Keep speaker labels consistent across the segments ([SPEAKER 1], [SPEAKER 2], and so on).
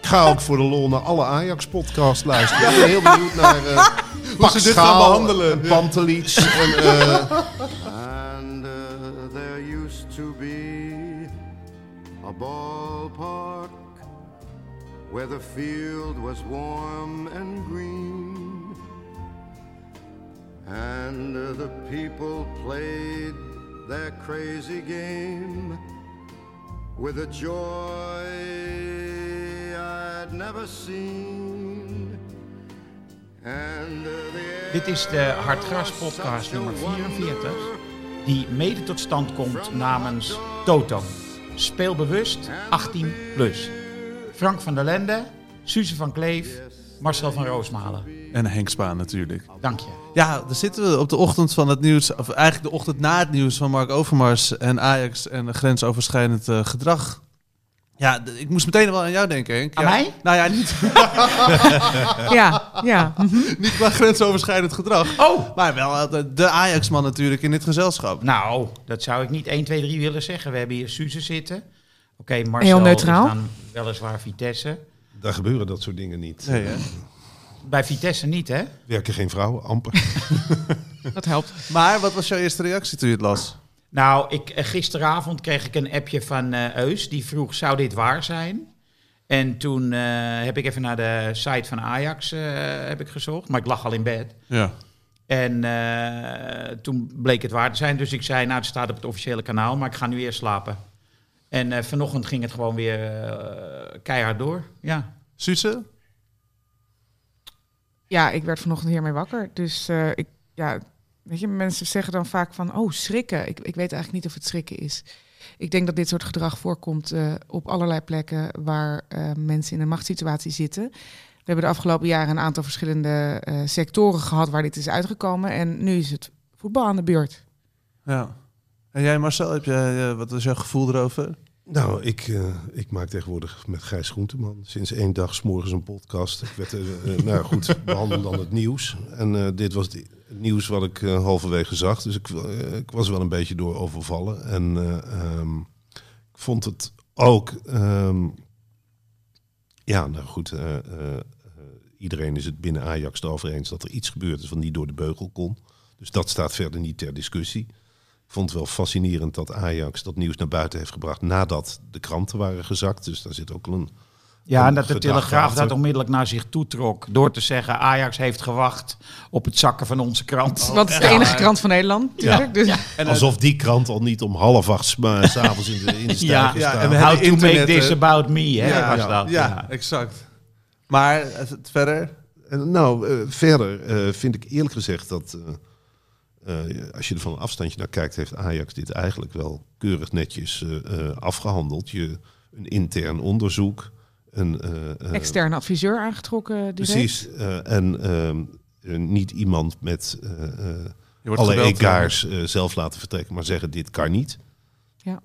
[SPEAKER 1] ga ook voor de lol naar alle Ajax-podcast luisteren. Ik ben heel benieuwd naar eh Pak
[SPEAKER 2] ze dit
[SPEAKER 1] Schaal eh,
[SPEAKER 2] gaan behandelen.
[SPEAKER 1] en Pantelic. en, eh,
[SPEAKER 3] And uh, there used to be a ballpark where the field was warm and green. And uh, the people played their crazy game with a joy I'd never seen. And uh, the
[SPEAKER 4] Dit is de Hartgras podcast nummer 44, die mede tot stand komt namens Toto. Speel bewust 18 plus. Frank van der Lende, Suze van Kleef, Marcel van Roosmalen.
[SPEAKER 2] En Henk Spaan natuurlijk.
[SPEAKER 4] Dank je.
[SPEAKER 2] Ja, daar zitten we op de ochtend van het nieuws, of eigenlijk de ochtend na het nieuws van Mark Overmars en Ajax en grensoverschrijdend eh, gedrag. Ja, d- ik moest meteen wel aan jou denken, Henk.
[SPEAKER 4] Aan
[SPEAKER 2] Ja.
[SPEAKER 4] mij?
[SPEAKER 2] Nou ja, niet,
[SPEAKER 5] Ja, ja.
[SPEAKER 2] niet qua grensoverschrijdend gedrag,
[SPEAKER 4] Oh!
[SPEAKER 2] maar wel eh, de- de Ajax-man natuurlijk in dit gezelschap.
[SPEAKER 4] Nou, dat zou ik niet 1, 2, 3 willen zeggen. We hebben hier Suze zitten. Oké, Marcel
[SPEAKER 5] Heel neutraal.
[SPEAKER 4] is dan weliswaar Vitesse.
[SPEAKER 1] daar gebeuren dat soort dingen niet.
[SPEAKER 2] Nee, hè?
[SPEAKER 4] Bij Vitesse niet, hè?
[SPEAKER 1] Werken geen vrouwen, amper.
[SPEAKER 5] dat helpt.
[SPEAKER 2] Maar wat was jouw eerste reactie toen je het las?
[SPEAKER 4] Nou, ik, eh, gisteravond kreeg ik een appje van eh Eus. Die vroeg, zou dit waar zijn? En toen eh, heb ik even naar de site van Ajax eh, heb ik gezocht. Maar ik lag al in bed.
[SPEAKER 2] Ja.
[SPEAKER 4] En eh, toen bleek het waar te zijn. Dus ik zei, nou, het staat op het officiële kanaal. Maar ik ga nu eerst slapen. En eh, vanochtend ging het gewoon weer eh, keihard door. Ja.
[SPEAKER 2] Suze?
[SPEAKER 5] Ja, ik werd vanochtend hiermee wakker. Dus eh, ik, ja, weet je, mensen zeggen dan vaak van, oh, schrikken. Ik, ik weet eigenlijk niet of het schrikken is. Ik denk dat dit soort gedrag voorkomt eh, op allerlei plekken waar eh, mensen in een machtssituatie zitten. We hebben de afgelopen jaren een aantal verschillende eh, sectoren gehad waar dit is uitgekomen. En nu is het voetbal aan de beurt.
[SPEAKER 2] Ja. En jij Marcel, heb je, eh, wat is jouw gevoel erover?
[SPEAKER 1] Nou, ik, eh, ik maak tegenwoordig met Gijs Groenteman sinds één dag s morgens een podcast. Ik werd, eh, eh, nou ja, goed, behandel dan het nieuws. En eh, dit was het nieuws wat ik eh, halverwege zag. Dus ik, eh, ik was er wel een beetje door overvallen. En eh, ehm, ik vond het ook... ehm, ja, nou goed, eh, eh, eh, iedereen is het binnen Ajax erover eens dat er iets gebeurd is wat niet door de beugel kon. Dus dat staat verder niet ter discussie. Ik vond het wel fascinerend dat Ajax dat nieuws naar buiten heeft gebracht nadat de kranten waren gezakt. Dus daar zit ook wel een.
[SPEAKER 4] Ja, en
[SPEAKER 1] Een
[SPEAKER 4] dat de
[SPEAKER 1] gedachte
[SPEAKER 4] Telegraaf
[SPEAKER 1] achter.
[SPEAKER 4] dat onmiddellijk naar zich toetrok. Door te zeggen, Ajax heeft gewacht op het zakken van onze
[SPEAKER 1] Oh.
[SPEAKER 4] krant.
[SPEAKER 5] Want het is de enige krant van Nederland, natuurlijk. Dus,
[SPEAKER 2] eh,
[SPEAKER 1] alsof die krant al niet om half acht eh, s'avonds in de, in de stijl
[SPEAKER 4] Ja,
[SPEAKER 1] gestaan.
[SPEAKER 2] ja, en we
[SPEAKER 4] How to
[SPEAKER 2] hebben
[SPEAKER 4] make
[SPEAKER 2] internet,
[SPEAKER 4] this
[SPEAKER 2] hè?
[SPEAKER 4] about me, hè?
[SPEAKER 2] Ja,
[SPEAKER 4] was dat.
[SPEAKER 2] ja, exact. Maar eh, het- verder?
[SPEAKER 1] Eh, nou, eh, verder eh, vind ik eerlijk gezegd dat. eh, eh, als je er van een afstandje naar kijkt, heeft Ajax dit eigenlijk wel keurig netjes eh, eh, afgehandeld. Je, een intern onderzoek, een eh, eh,
[SPEAKER 5] Externe adviseur aangetrokken. direct.
[SPEAKER 1] Precies. eh, en ehm, eh, niet iemand met eh, eh,
[SPEAKER 2] Je wordt
[SPEAKER 1] alle
[SPEAKER 2] gebeld,
[SPEAKER 1] egaars eh, zelf laten vertrekken, maar zeggen dit kan niet. Eh,
[SPEAKER 5] Ja.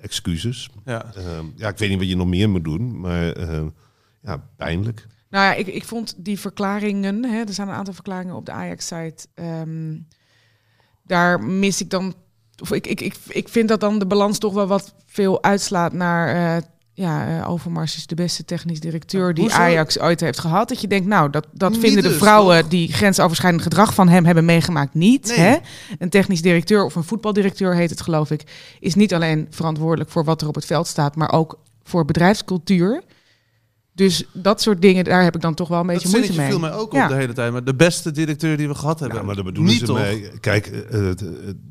[SPEAKER 1] Excuses.
[SPEAKER 2] Ja.
[SPEAKER 1] Ehm, ja, ik weet niet wat je nog meer moet doen, maar ehm, ja, pijnlijk.
[SPEAKER 5] Nou ja, ik, ik vond die verklaringen, hè, er staan een aantal verklaringen op de Ajax-site. ehm, daar mis ik dan, of ik, ik, ik, ik vind dat dan de balans toch wel wat veel uitslaat naar, eh, ja, eh, Overmars is de beste technisch directeur die
[SPEAKER 2] Hoezo?
[SPEAKER 5] Ajax ooit heeft gehad. Dat je denkt, nou, dat, dat
[SPEAKER 2] Niet
[SPEAKER 5] vinden de
[SPEAKER 2] dus,
[SPEAKER 5] vrouwen die grensoverschrijdend gedrag van hem hebben meegemaakt niet.
[SPEAKER 2] Nee.
[SPEAKER 5] Hè? Een technisch directeur of een voetbaldirecteur heet het, geloof ik, is niet alleen verantwoordelijk voor wat er op het veld staat, maar ook voor bedrijfscultuur. Dus dat soort dingen, daar heb ik dan toch wel een
[SPEAKER 2] Dat
[SPEAKER 5] beetje moeite
[SPEAKER 2] zinnetje
[SPEAKER 5] mee.
[SPEAKER 2] viel mij ook op
[SPEAKER 5] Ja.
[SPEAKER 2] de hele tijd. Maar de beste directeur die we gehad hebben.
[SPEAKER 1] Ja, maar dat bedoelen
[SPEAKER 2] Niet
[SPEAKER 1] ze
[SPEAKER 2] toch?
[SPEAKER 1] mee. Kijk, eh, eh, eh,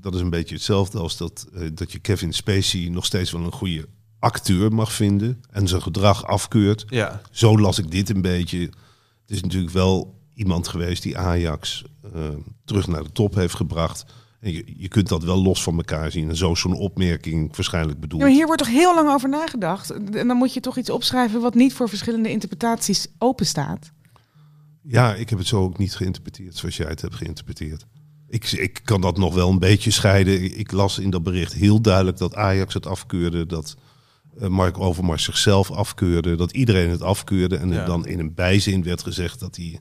[SPEAKER 1] dat is een beetje hetzelfde als dat, eh, dat je Kevin Spacey nog steeds wel een goede acteur mag vinden en zijn gedrag afkeurt.
[SPEAKER 2] Ja.
[SPEAKER 1] Zo las ik dit een beetje. Het is natuurlijk wel iemand geweest die Ajax eh, terug naar de top heeft gebracht. En je, je kunt dat wel los van elkaar zien. En zo is zo'n opmerking waarschijnlijk bedoeld.
[SPEAKER 5] Ja, maar hier wordt toch heel lang over nagedacht. En dan moet je toch iets opschrijven wat niet voor verschillende interpretaties openstaat.
[SPEAKER 1] Ja, ik heb het zo ook niet geïnterpreteerd zoals jij het hebt geïnterpreteerd. Ik, ik kan dat nog wel een beetje scheiden. Ik- Ik las in dat bericht heel duidelijk dat Ajax het afkeurde. Dat eh, Mark Overmars zichzelf afkeurde. Dat iedereen het afkeurde. En er
[SPEAKER 2] Ja.
[SPEAKER 1] dan in een bijzin werd gezegd dat hij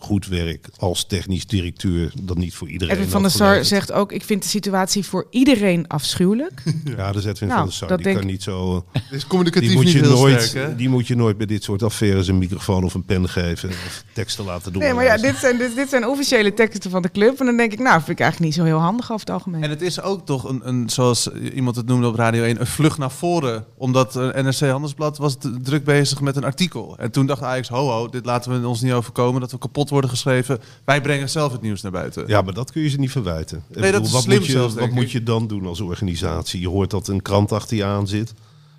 [SPEAKER 1] goed werk als technisch directeur dan niet voor iedereen.
[SPEAKER 5] Edwin van der
[SPEAKER 1] had
[SPEAKER 5] Sar
[SPEAKER 1] geleverd.
[SPEAKER 5] zegt ook, ik vind de situatie voor iedereen afschuwelijk.
[SPEAKER 1] Ja, dat is Edwin
[SPEAKER 5] Nou,
[SPEAKER 1] van der Sar.
[SPEAKER 5] dat
[SPEAKER 1] Die
[SPEAKER 5] denk-
[SPEAKER 1] kan niet zo... eh,
[SPEAKER 6] is communicatief
[SPEAKER 1] Die moet,
[SPEAKER 6] niet
[SPEAKER 1] je
[SPEAKER 6] heel
[SPEAKER 1] nooit,
[SPEAKER 6] sterk, hè?
[SPEAKER 1] die moet je nooit bij dit soort affaires een microfoon of een pen geven. Of teksten laten doen.
[SPEAKER 5] Nee, maar ja, dit zijn, dit, dit zijn officiële teksten van de club. En dan denk ik, nou, vind ik eigenlijk niet zo heel handig over het algemeen.
[SPEAKER 2] En het is ook toch een, een, zoals iemand het noemde op Radio 1, een vlucht naar voren. Omdat eh, NRC Handelsblad was d- druk bezig met een artikel. En toen dacht Ajax, ho ho, dit laten we ons niet overkomen, dat we kapot worden geschreven. Wij brengen zelf het nieuws naar buiten.
[SPEAKER 1] Ja, maar dat kun je ze niet verwijten. Ik
[SPEAKER 2] dat
[SPEAKER 1] bedoel,
[SPEAKER 2] is
[SPEAKER 1] wat
[SPEAKER 2] slim
[SPEAKER 1] moet je,
[SPEAKER 2] zelfs, denk
[SPEAKER 1] Wat moet
[SPEAKER 2] ik.
[SPEAKER 1] je dan doen als organisatie? Je hoort dat een krant achter je aan zit.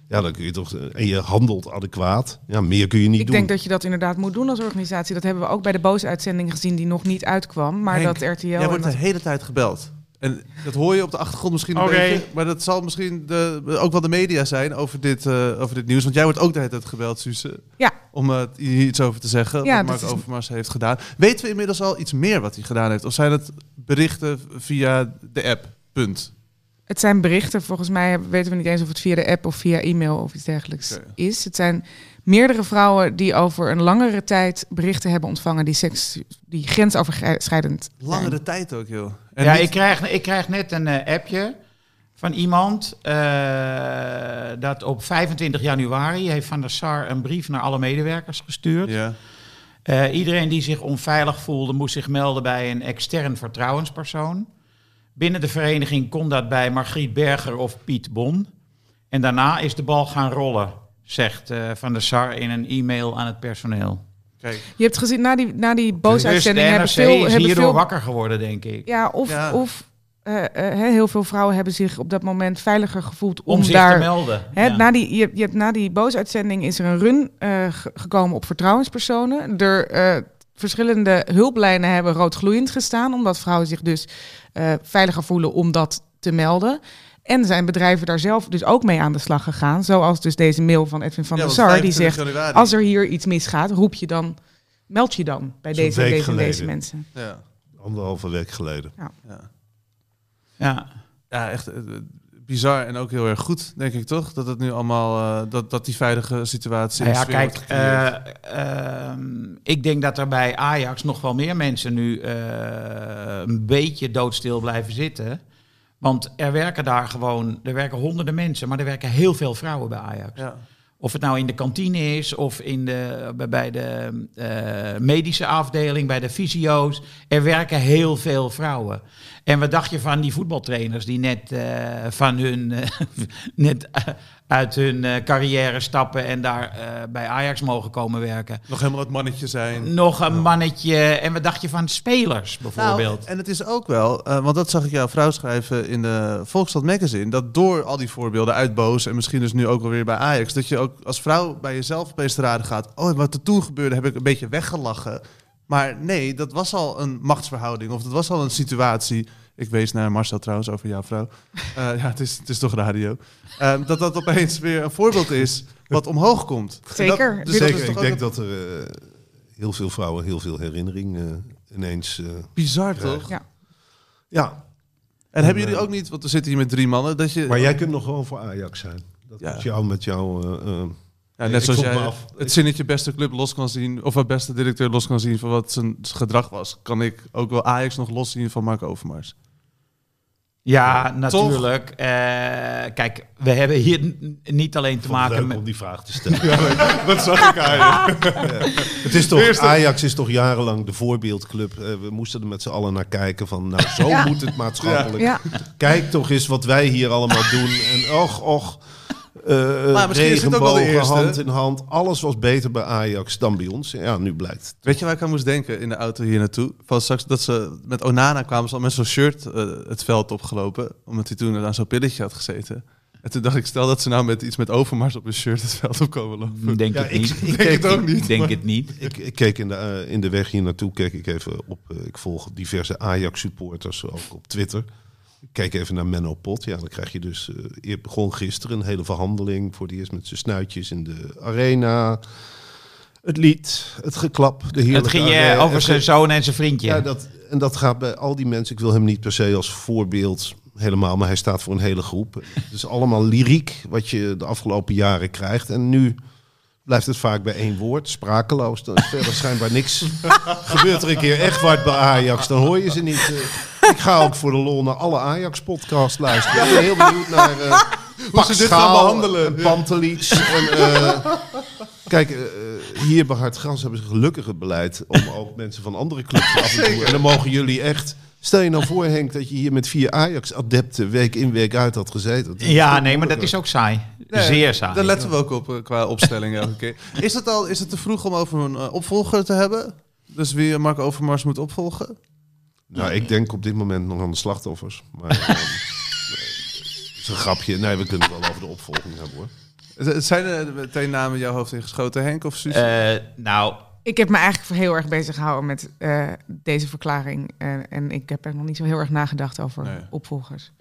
[SPEAKER 1] Ja, dan kun je toch... eh, En je handelt adequaat. Ja, meer kun je niet
[SPEAKER 5] ik
[SPEAKER 1] doen.
[SPEAKER 5] denk dat je dat inderdaad moet doen als organisatie. Dat hebben we ook bij de boos-uitzending gezien die nog niet uitkwam. Maar
[SPEAKER 2] Henk,
[SPEAKER 5] dat RTL...
[SPEAKER 2] Jij
[SPEAKER 5] en
[SPEAKER 2] wordt
[SPEAKER 5] dat-
[SPEAKER 2] de hele tijd gebeld. En dat hoor je op de achtergrond misschien een
[SPEAKER 4] Oké.
[SPEAKER 2] beetje. Maar dat zal misschien de, ook wel de media zijn over dit, eh, over dit nieuws. Want jij wordt ook de hele tijd gebeld, Suze.
[SPEAKER 5] Ja.
[SPEAKER 2] Om eh, hier iets over te zeggen. wat
[SPEAKER 5] Ja, dat
[SPEAKER 2] Mark
[SPEAKER 5] is-
[SPEAKER 2] Overmars heeft gedaan. Weten we inmiddels al iets meer wat hij gedaan heeft? Of zijn het berichten via de app? Punt.
[SPEAKER 5] Het zijn berichten. Volgens mij hebben- weten we niet eens of het via de app of via e-mail of iets dergelijks
[SPEAKER 2] Oké.
[SPEAKER 5] is. Het zijn meerdere vrouwen die over een langere tijd berichten hebben ontvangen die, seks, die grensoverschrijdend zijn.
[SPEAKER 2] Langere tijd ook, joh. En
[SPEAKER 4] Ja,
[SPEAKER 2] niet-
[SPEAKER 4] ik krijg, ik krijg net een eh, appje van iemand eh, dat op 25 januari heeft Van der Sar een brief naar alle medewerkers gestuurd.
[SPEAKER 2] Ja.
[SPEAKER 4] Eh, iedereen die zich onveilig voelde, moest zich melden bij een extern vertrouwenspersoon. Binnen de vereniging kon dat bij Margriet Berger of Piet Bon. En daarna is de bal gaan rollen, zegt eh, Van der Sar in een e-mail aan het personeel.
[SPEAKER 2] Kijk,
[SPEAKER 5] Je hebt gezien, na die, na die
[SPEAKER 4] Dus de
[SPEAKER 5] boosuitzending
[SPEAKER 4] NRC
[SPEAKER 5] hebben veel...
[SPEAKER 4] is
[SPEAKER 5] hebben
[SPEAKER 4] hierdoor
[SPEAKER 5] veel
[SPEAKER 4] wakker geworden, denk ik.
[SPEAKER 5] ja, of,
[SPEAKER 2] Ja.
[SPEAKER 5] of eh, eh, hè, heel veel vrouwen hebben zich op dat moment veiliger gevoeld om,
[SPEAKER 4] Om, zich
[SPEAKER 5] daar...
[SPEAKER 4] te melden.
[SPEAKER 5] Hè,
[SPEAKER 4] Ja.
[SPEAKER 5] na die, je, je hebt na die boosuitzending is er een run eh, ge- gekomen op vertrouwenspersonen. Er eh, verschillende hulplijnen hebben roodgloeiend gestaan, omdat vrouwen zich dus eh, veiliger voelen om dat te melden. En zijn bedrijven daar zelf dus ook mee aan de slag gegaan. Zoals dus deze mail van Edwin van
[SPEAKER 2] ja,
[SPEAKER 5] der
[SPEAKER 2] want
[SPEAKER 5] Sar, die
[SPEAKER 2] 25
[SPEAKER 5] zegt,
[SPEAKER 2] januari.
[SPEAKER 5] als er hier iets misgaat, roep je dan, meld je dan bij
[SPEAKER 1] Zo'n
[SPEAKER 5] deze en
[SPEAKER 1] week
[SPEAKER 5] deze, en deze
[SPEAKER 1] geleden.
[SPEAKER 5] mensen.
[SPEAKER 2] Ja.
[SPEAKER 1] Anderhalve week geleden.
[SPEAKER 2] Ja.
[SPEAKER 4] Ja.
[SPEAKER 2] Ja, echt eh, bizar en ook heel erg goed, denk ik toch? Dat het nu allemaal, eh, dat, dat die veilige situatie.
[SPEAKER 4] Nou ja,
[SPEAKER 2] en sfeer
[SPEAKER 4] kijk,
[SPEAKER 2] wordt gecreëerd.
[SPEAKER 4] eh, ehm, ik denk dat er bij Ajax nog wel meer mensen nu eh, een beetje doodstil blijven zitten. Want er werken daar gewoon, er werken honderden mensen, maar er werken heel veel vrouwen bij Ajax.
[SPEAKER 2] ja.
[SPEAKER 4] Of het nou in de kantine is, of in de, bij- bij de eh, medische afdeling, bij de fysio's. Er werken heel veel vrouwen. En wat dacht je van die voetbaltrainers die net, eh, van hun, eh, net eh, uit hun eh, carrière stappen en daar eh, bij Ajax mogen komen werken?
[SPEAKER 2] Nog helemaal het mannetje zijn.
[SPEAKER 4] Nog een mannetje. En wat dacht je van spelers
[SPEAKER 1] Nou,
[SPEAKER 4] bijvoorbeeld?
[SPEAKER 2] Nou, en het is ook wel, eh, want dat zag ik jouw vrouw schrijven in de Volksstad Magazine, dat door al die voorbeelden uit Boos en misschien dus nu ook alweer bij Ajax, dat je ook als vrouw bij jezelf opeens te raden gaat, oh, wat er toen gebeurde heb ik een beetje weggelachen. Maar nee, dat was al een machtsverhouding of dat was al een situatie. Ik wees naar Marcel trouwens over jouw vrouw. Eh, ja, het is, het is toch radio. Ehm, dat dat opeens weer een voorbeeld is wat omhoog komt. En
[SPEAKER 5] Zeker.
[SPEAKER 2] Dat,
[SPEAKER 5] Zeker,
[SPEAKER 2] dat is
[SPEAKER 1] Zeker,
[SPEAKER 2] toch
[SPEAKER 1] ik
[SPEAKER 2] ook
[SPEAKER 1] denk dat er eh, heel veel vrouwen heel veel herinnering eh, ineens... eh,
[SPEAKER 2] bizar
[SPEAKER 1] krijgen.
[SPEAKER 2] toch?
[SPEAKER 1] ja,
[SPEAKER 2] En hebben jullie ook niet, want we zitten hier met drie mannen, dat je...
[SPEAKER 1] eh, maar jij kunt nog gewoon voor Ajax zijn. Dat
[SPEAKER 2] Ja.
[SPEAKER 1] moet jou met jou... eh, eh,
[SPEAKER 2] Ja,
[SPEAKER 1] Ik
[SPEAKER 2] net zoals
[SPEAKER 1] vroeg me
[SPEAKER 2] jij
[SPEAKER 1] af.
[SPEAKER 2] het zinnetje beste club los kan zien, of het beste directeur los kan zien van wat zijn gedrag was, kan ik ook wel Ajax nog los zien van Mark Overmars.
[SPEAKER 4] Ja, natuurlijk. Eh, kijk, we hebben hier n- niet alleen te
[SPEAKER 1] vond het
[SPEAKER 4] maken
[SPEAKER 1] leuk
[SPEAKER 4] met.
[SPEAKER 1] om die vraag te stellen.
[SPEAKER 2] Dat zag ik eigenlijk.
[SPEAKER 1] Het is toch, Ajax is toch jarenlang de voorbeeldclub. Eh, we moesten er met z'n allen naar kijken van, nou zo
[SPEAKER 5] Ja.
[SPEAKER 1] moet het maatschappelijk.
[SPEAKER 5] Ja.
[SPEAKER 1] Kijk toch eens wat wij hier allemaal doen. En och, och. eh
[SPEAKER 2] Maar misschien is het ook wel de
[SPEAKER 1] regenbogen,
[SPEAKER 2] eerste.
[SPEAKER 1] hand in hand. Alles was beter bij Ajax dan bij ons. Ja, nu blijkt.
[SPEAKER 2] Weet je waar ik aan moest denken in de auto hier naartoe? Van straks dat ze met Onana kwamen ze al met zo'n shirt eh, het veld opgelopen, omdat hij toen aan zo'n pilletje had gezeten. En toen dacht ik, stel dat ze nou met iets met Overmars op een shirt het veld op komen lopen.
[SPEAKER 4] Denk
[SPEAKER 1] Ja,
[SPEAKER 4] het
[SPEAKER 1] ik-
[SPEAKER 4] niet.
[SPEAKER 1] ik denk het ook niet,
[SPEAKER 4] Ik denk
[SPEAKER 1] maar-
[SPEAKER 4] het niet.
[SPEAKER 1] Ik, ik keek in de, eh, in de weg hier naartoe, keek ik even op. eh, ik volg diverse Ajax-supporters, ook op Twitter. Ik keek even naar Menno Pot. Ja, dan krijg je dus... eh, je begon gisteren een hele verhandeling. Voor het eerst met zijn snuitjes in de arena. Het lied, het geklap, de heerlijke
[SPEAKER 4] Het ging
[SPEAKER 1] arena,
[SPEAKER 4] je
[SPEAKER 1] het
[SPEAKER 4] over zijn
[SPEAKER 1] ge-
[SPEAKER 4] zoon en zijn vriendje.
[SPEAKER 1] Ja, dat, en dat gaat bij al die mensen. Ik wil hem niet per se als voorbeeld helemaal, maar hij staat voor een hele groep. Het is allemaal lyriek wat je de afgelopen jaren krijgt. En nu blijft het vaak bij één woord, sprakeloos. Dan is verder schijnbaar niks. Gebeurt er een keer echt wat bij Ajax, dan hoor je ze niet. eh. ik ga ook voor de lol naar alle Ajax-podcasts luisteren. Ik ben heel benieuwd naar... eh, Pak
[SPEAKER 2] ze dit
[SPEAKER 1] Schaal
[SPEAKER 2] gaan behandelen.
[SPEAKER 1] en Pantelic. en, eh, kijk, eh, hier bij Hart Gras hebben ze gelukkig het beleid om ook mensen van andere clubs af te doen. En dan mogen jullie echt... Stel je nou voor, Henk, dat je hier met vier Ajax-adepten week in, week uit had gezeten. Dat is
[SPEAKER 4] Ja,
[SPEAKER 1] veel
[SPEAKER 4] nee, maar dat
[SPEAKER 1] moeilijker.
[SPEAKER 4] is ook saai.
[SPEAKER 2] Nee,
[SPEAKER 4] Zeer saai.
[SPEAKER 2] Daar letten we ook op eh, qua opstelling elke keer. Is het, al, is het te vroeg om over een eh, opvolger te hebben? Dus wie eh, Mark Overmars moet opvolgen?
[SPEAKER 1] Nou, ik denk op dit moment nog aan de slachtoffers. Maar ehm, nee, het is een grapje. Nee, we kunnen het wel over de opvolging hebben hoor.
[SPEAKER 2] Z- Zijn er meteen namen in jouw hoofd ingeschoten, Henk of Suus?
[SPEAKER 4] Eh, nou,
[SPEAKER 5] Ik heb me eigenlijk heel erg bezig gehouden met eh, deze verklaring. En, en ik heb er nog niet zo heel erg nagedacht over
[SPEAKER 2] Nee.
[SPEAKER 5] opvolgers.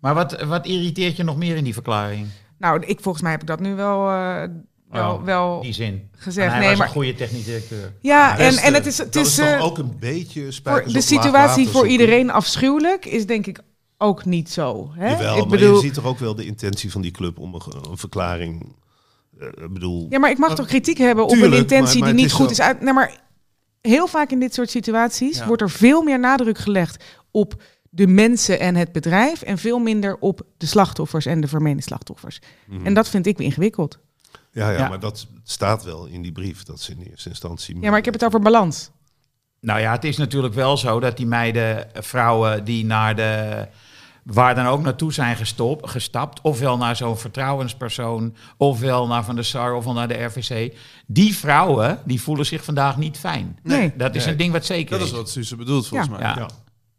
[SPEAKER 4] maar wat, wat irriteert je nog meer in die verklaring?
[SPEAKER 5] Nou, ik, volgens mij heb ik dat nu wel, eh, wel,
[SPEAKER 1] Nou,
[SPEAKER 4] Oh,
[SPEAKER 5] wel
[SPEAKER 4] Die zin.
[SPEAKER 5] gezegd.
[SPEAKER 4] En hij
[SPEAKER 5] nee,
[SPEAKER 4] was
[SPEAKER 5] maar,
[SPEAKER 4] een goede technisch directeur.
[SPEAKER 5] Ja, en,
[SPEAKER 1] Beste,
[SPEAKER 5] en het is, het
[SPEAKER 1] dat
[SPEAKER 5] is,
[SPEAKER 1] is, toch
[SPEAKER 5] eh,
[SPEAKER 1] ook een beetje spijtig.
[SPEAKER 5] voor de situatie voor iedereen afschuwelijk is denk ik ook niet zo. Hè?
[SPEAKER 1] Jawel,
[SPEAKER 5] ik
[SPEAKER 1] maar je
[SPEAKER 5] bedoel,
[SPEAKER 1] ziet toch ook wel de intentie van die club om een, een verklaring. eh, Ik bedoel,
[SPEAKER 5] ja, maar ik mag toch kritiek hebben op
[SPEAKER 1] Oh, Tuurlijk,
[SPEAKER 5] een intentie
[SPEAKER 1] maar- maar
[SPEAKER 5] die
[SPEAKER 1] het
[SPEAKER 5] niet
[SPEAKER 1] is
[SPEAKER 5] goed
[SPEAKER 1] zo.
[SPEAKER 5] is uit. Nee, maar heel vaak in dit soort situaties
[SPEAKER 2] Ja.
[SPEAKER 5] wordt er veel meer nadruk gelegd op de mensen en het bedrijf en veel minder op de slachtoffers en de vermeende slachtoffers.
[SPEAKER 1] Mhm.
[SPEAKER 5] En dat vind ik ingewikkeld.
[SPEAKER 1] ja, ja,
[SPEAKER 4] Ja.
[SPEAKER 1] maar dat staat wel in die brief. Dat ze in eerste instantie.
[SPEAKER 5] Ja, maar ik heb het over balans.
[SPEAKER 4] Nou ja, het is natuurlijk wel zo dat die meiden, eh, vrouwen die naar de. waar dan ook naartoe zijn gestop, gestapt. ofwel naar zo'n vertrouwenspersoon. ofwel naar Van der Sar ofwel naar de RVC. die vrouwen die voelen zich vandaag niet fijn.
[SPEAKER 5] Nee.
[SPEAKER 4] Dat is
[SPEAKER 2] Nee.
[SPEAKER 4] een ding wat zeker
[SPEAKER 2] dat is wat Suus bedoelt volgens
[SPEAKER 5] Ja.
[SPEAKER 2] mij.
[SPEAKER 4] Ja.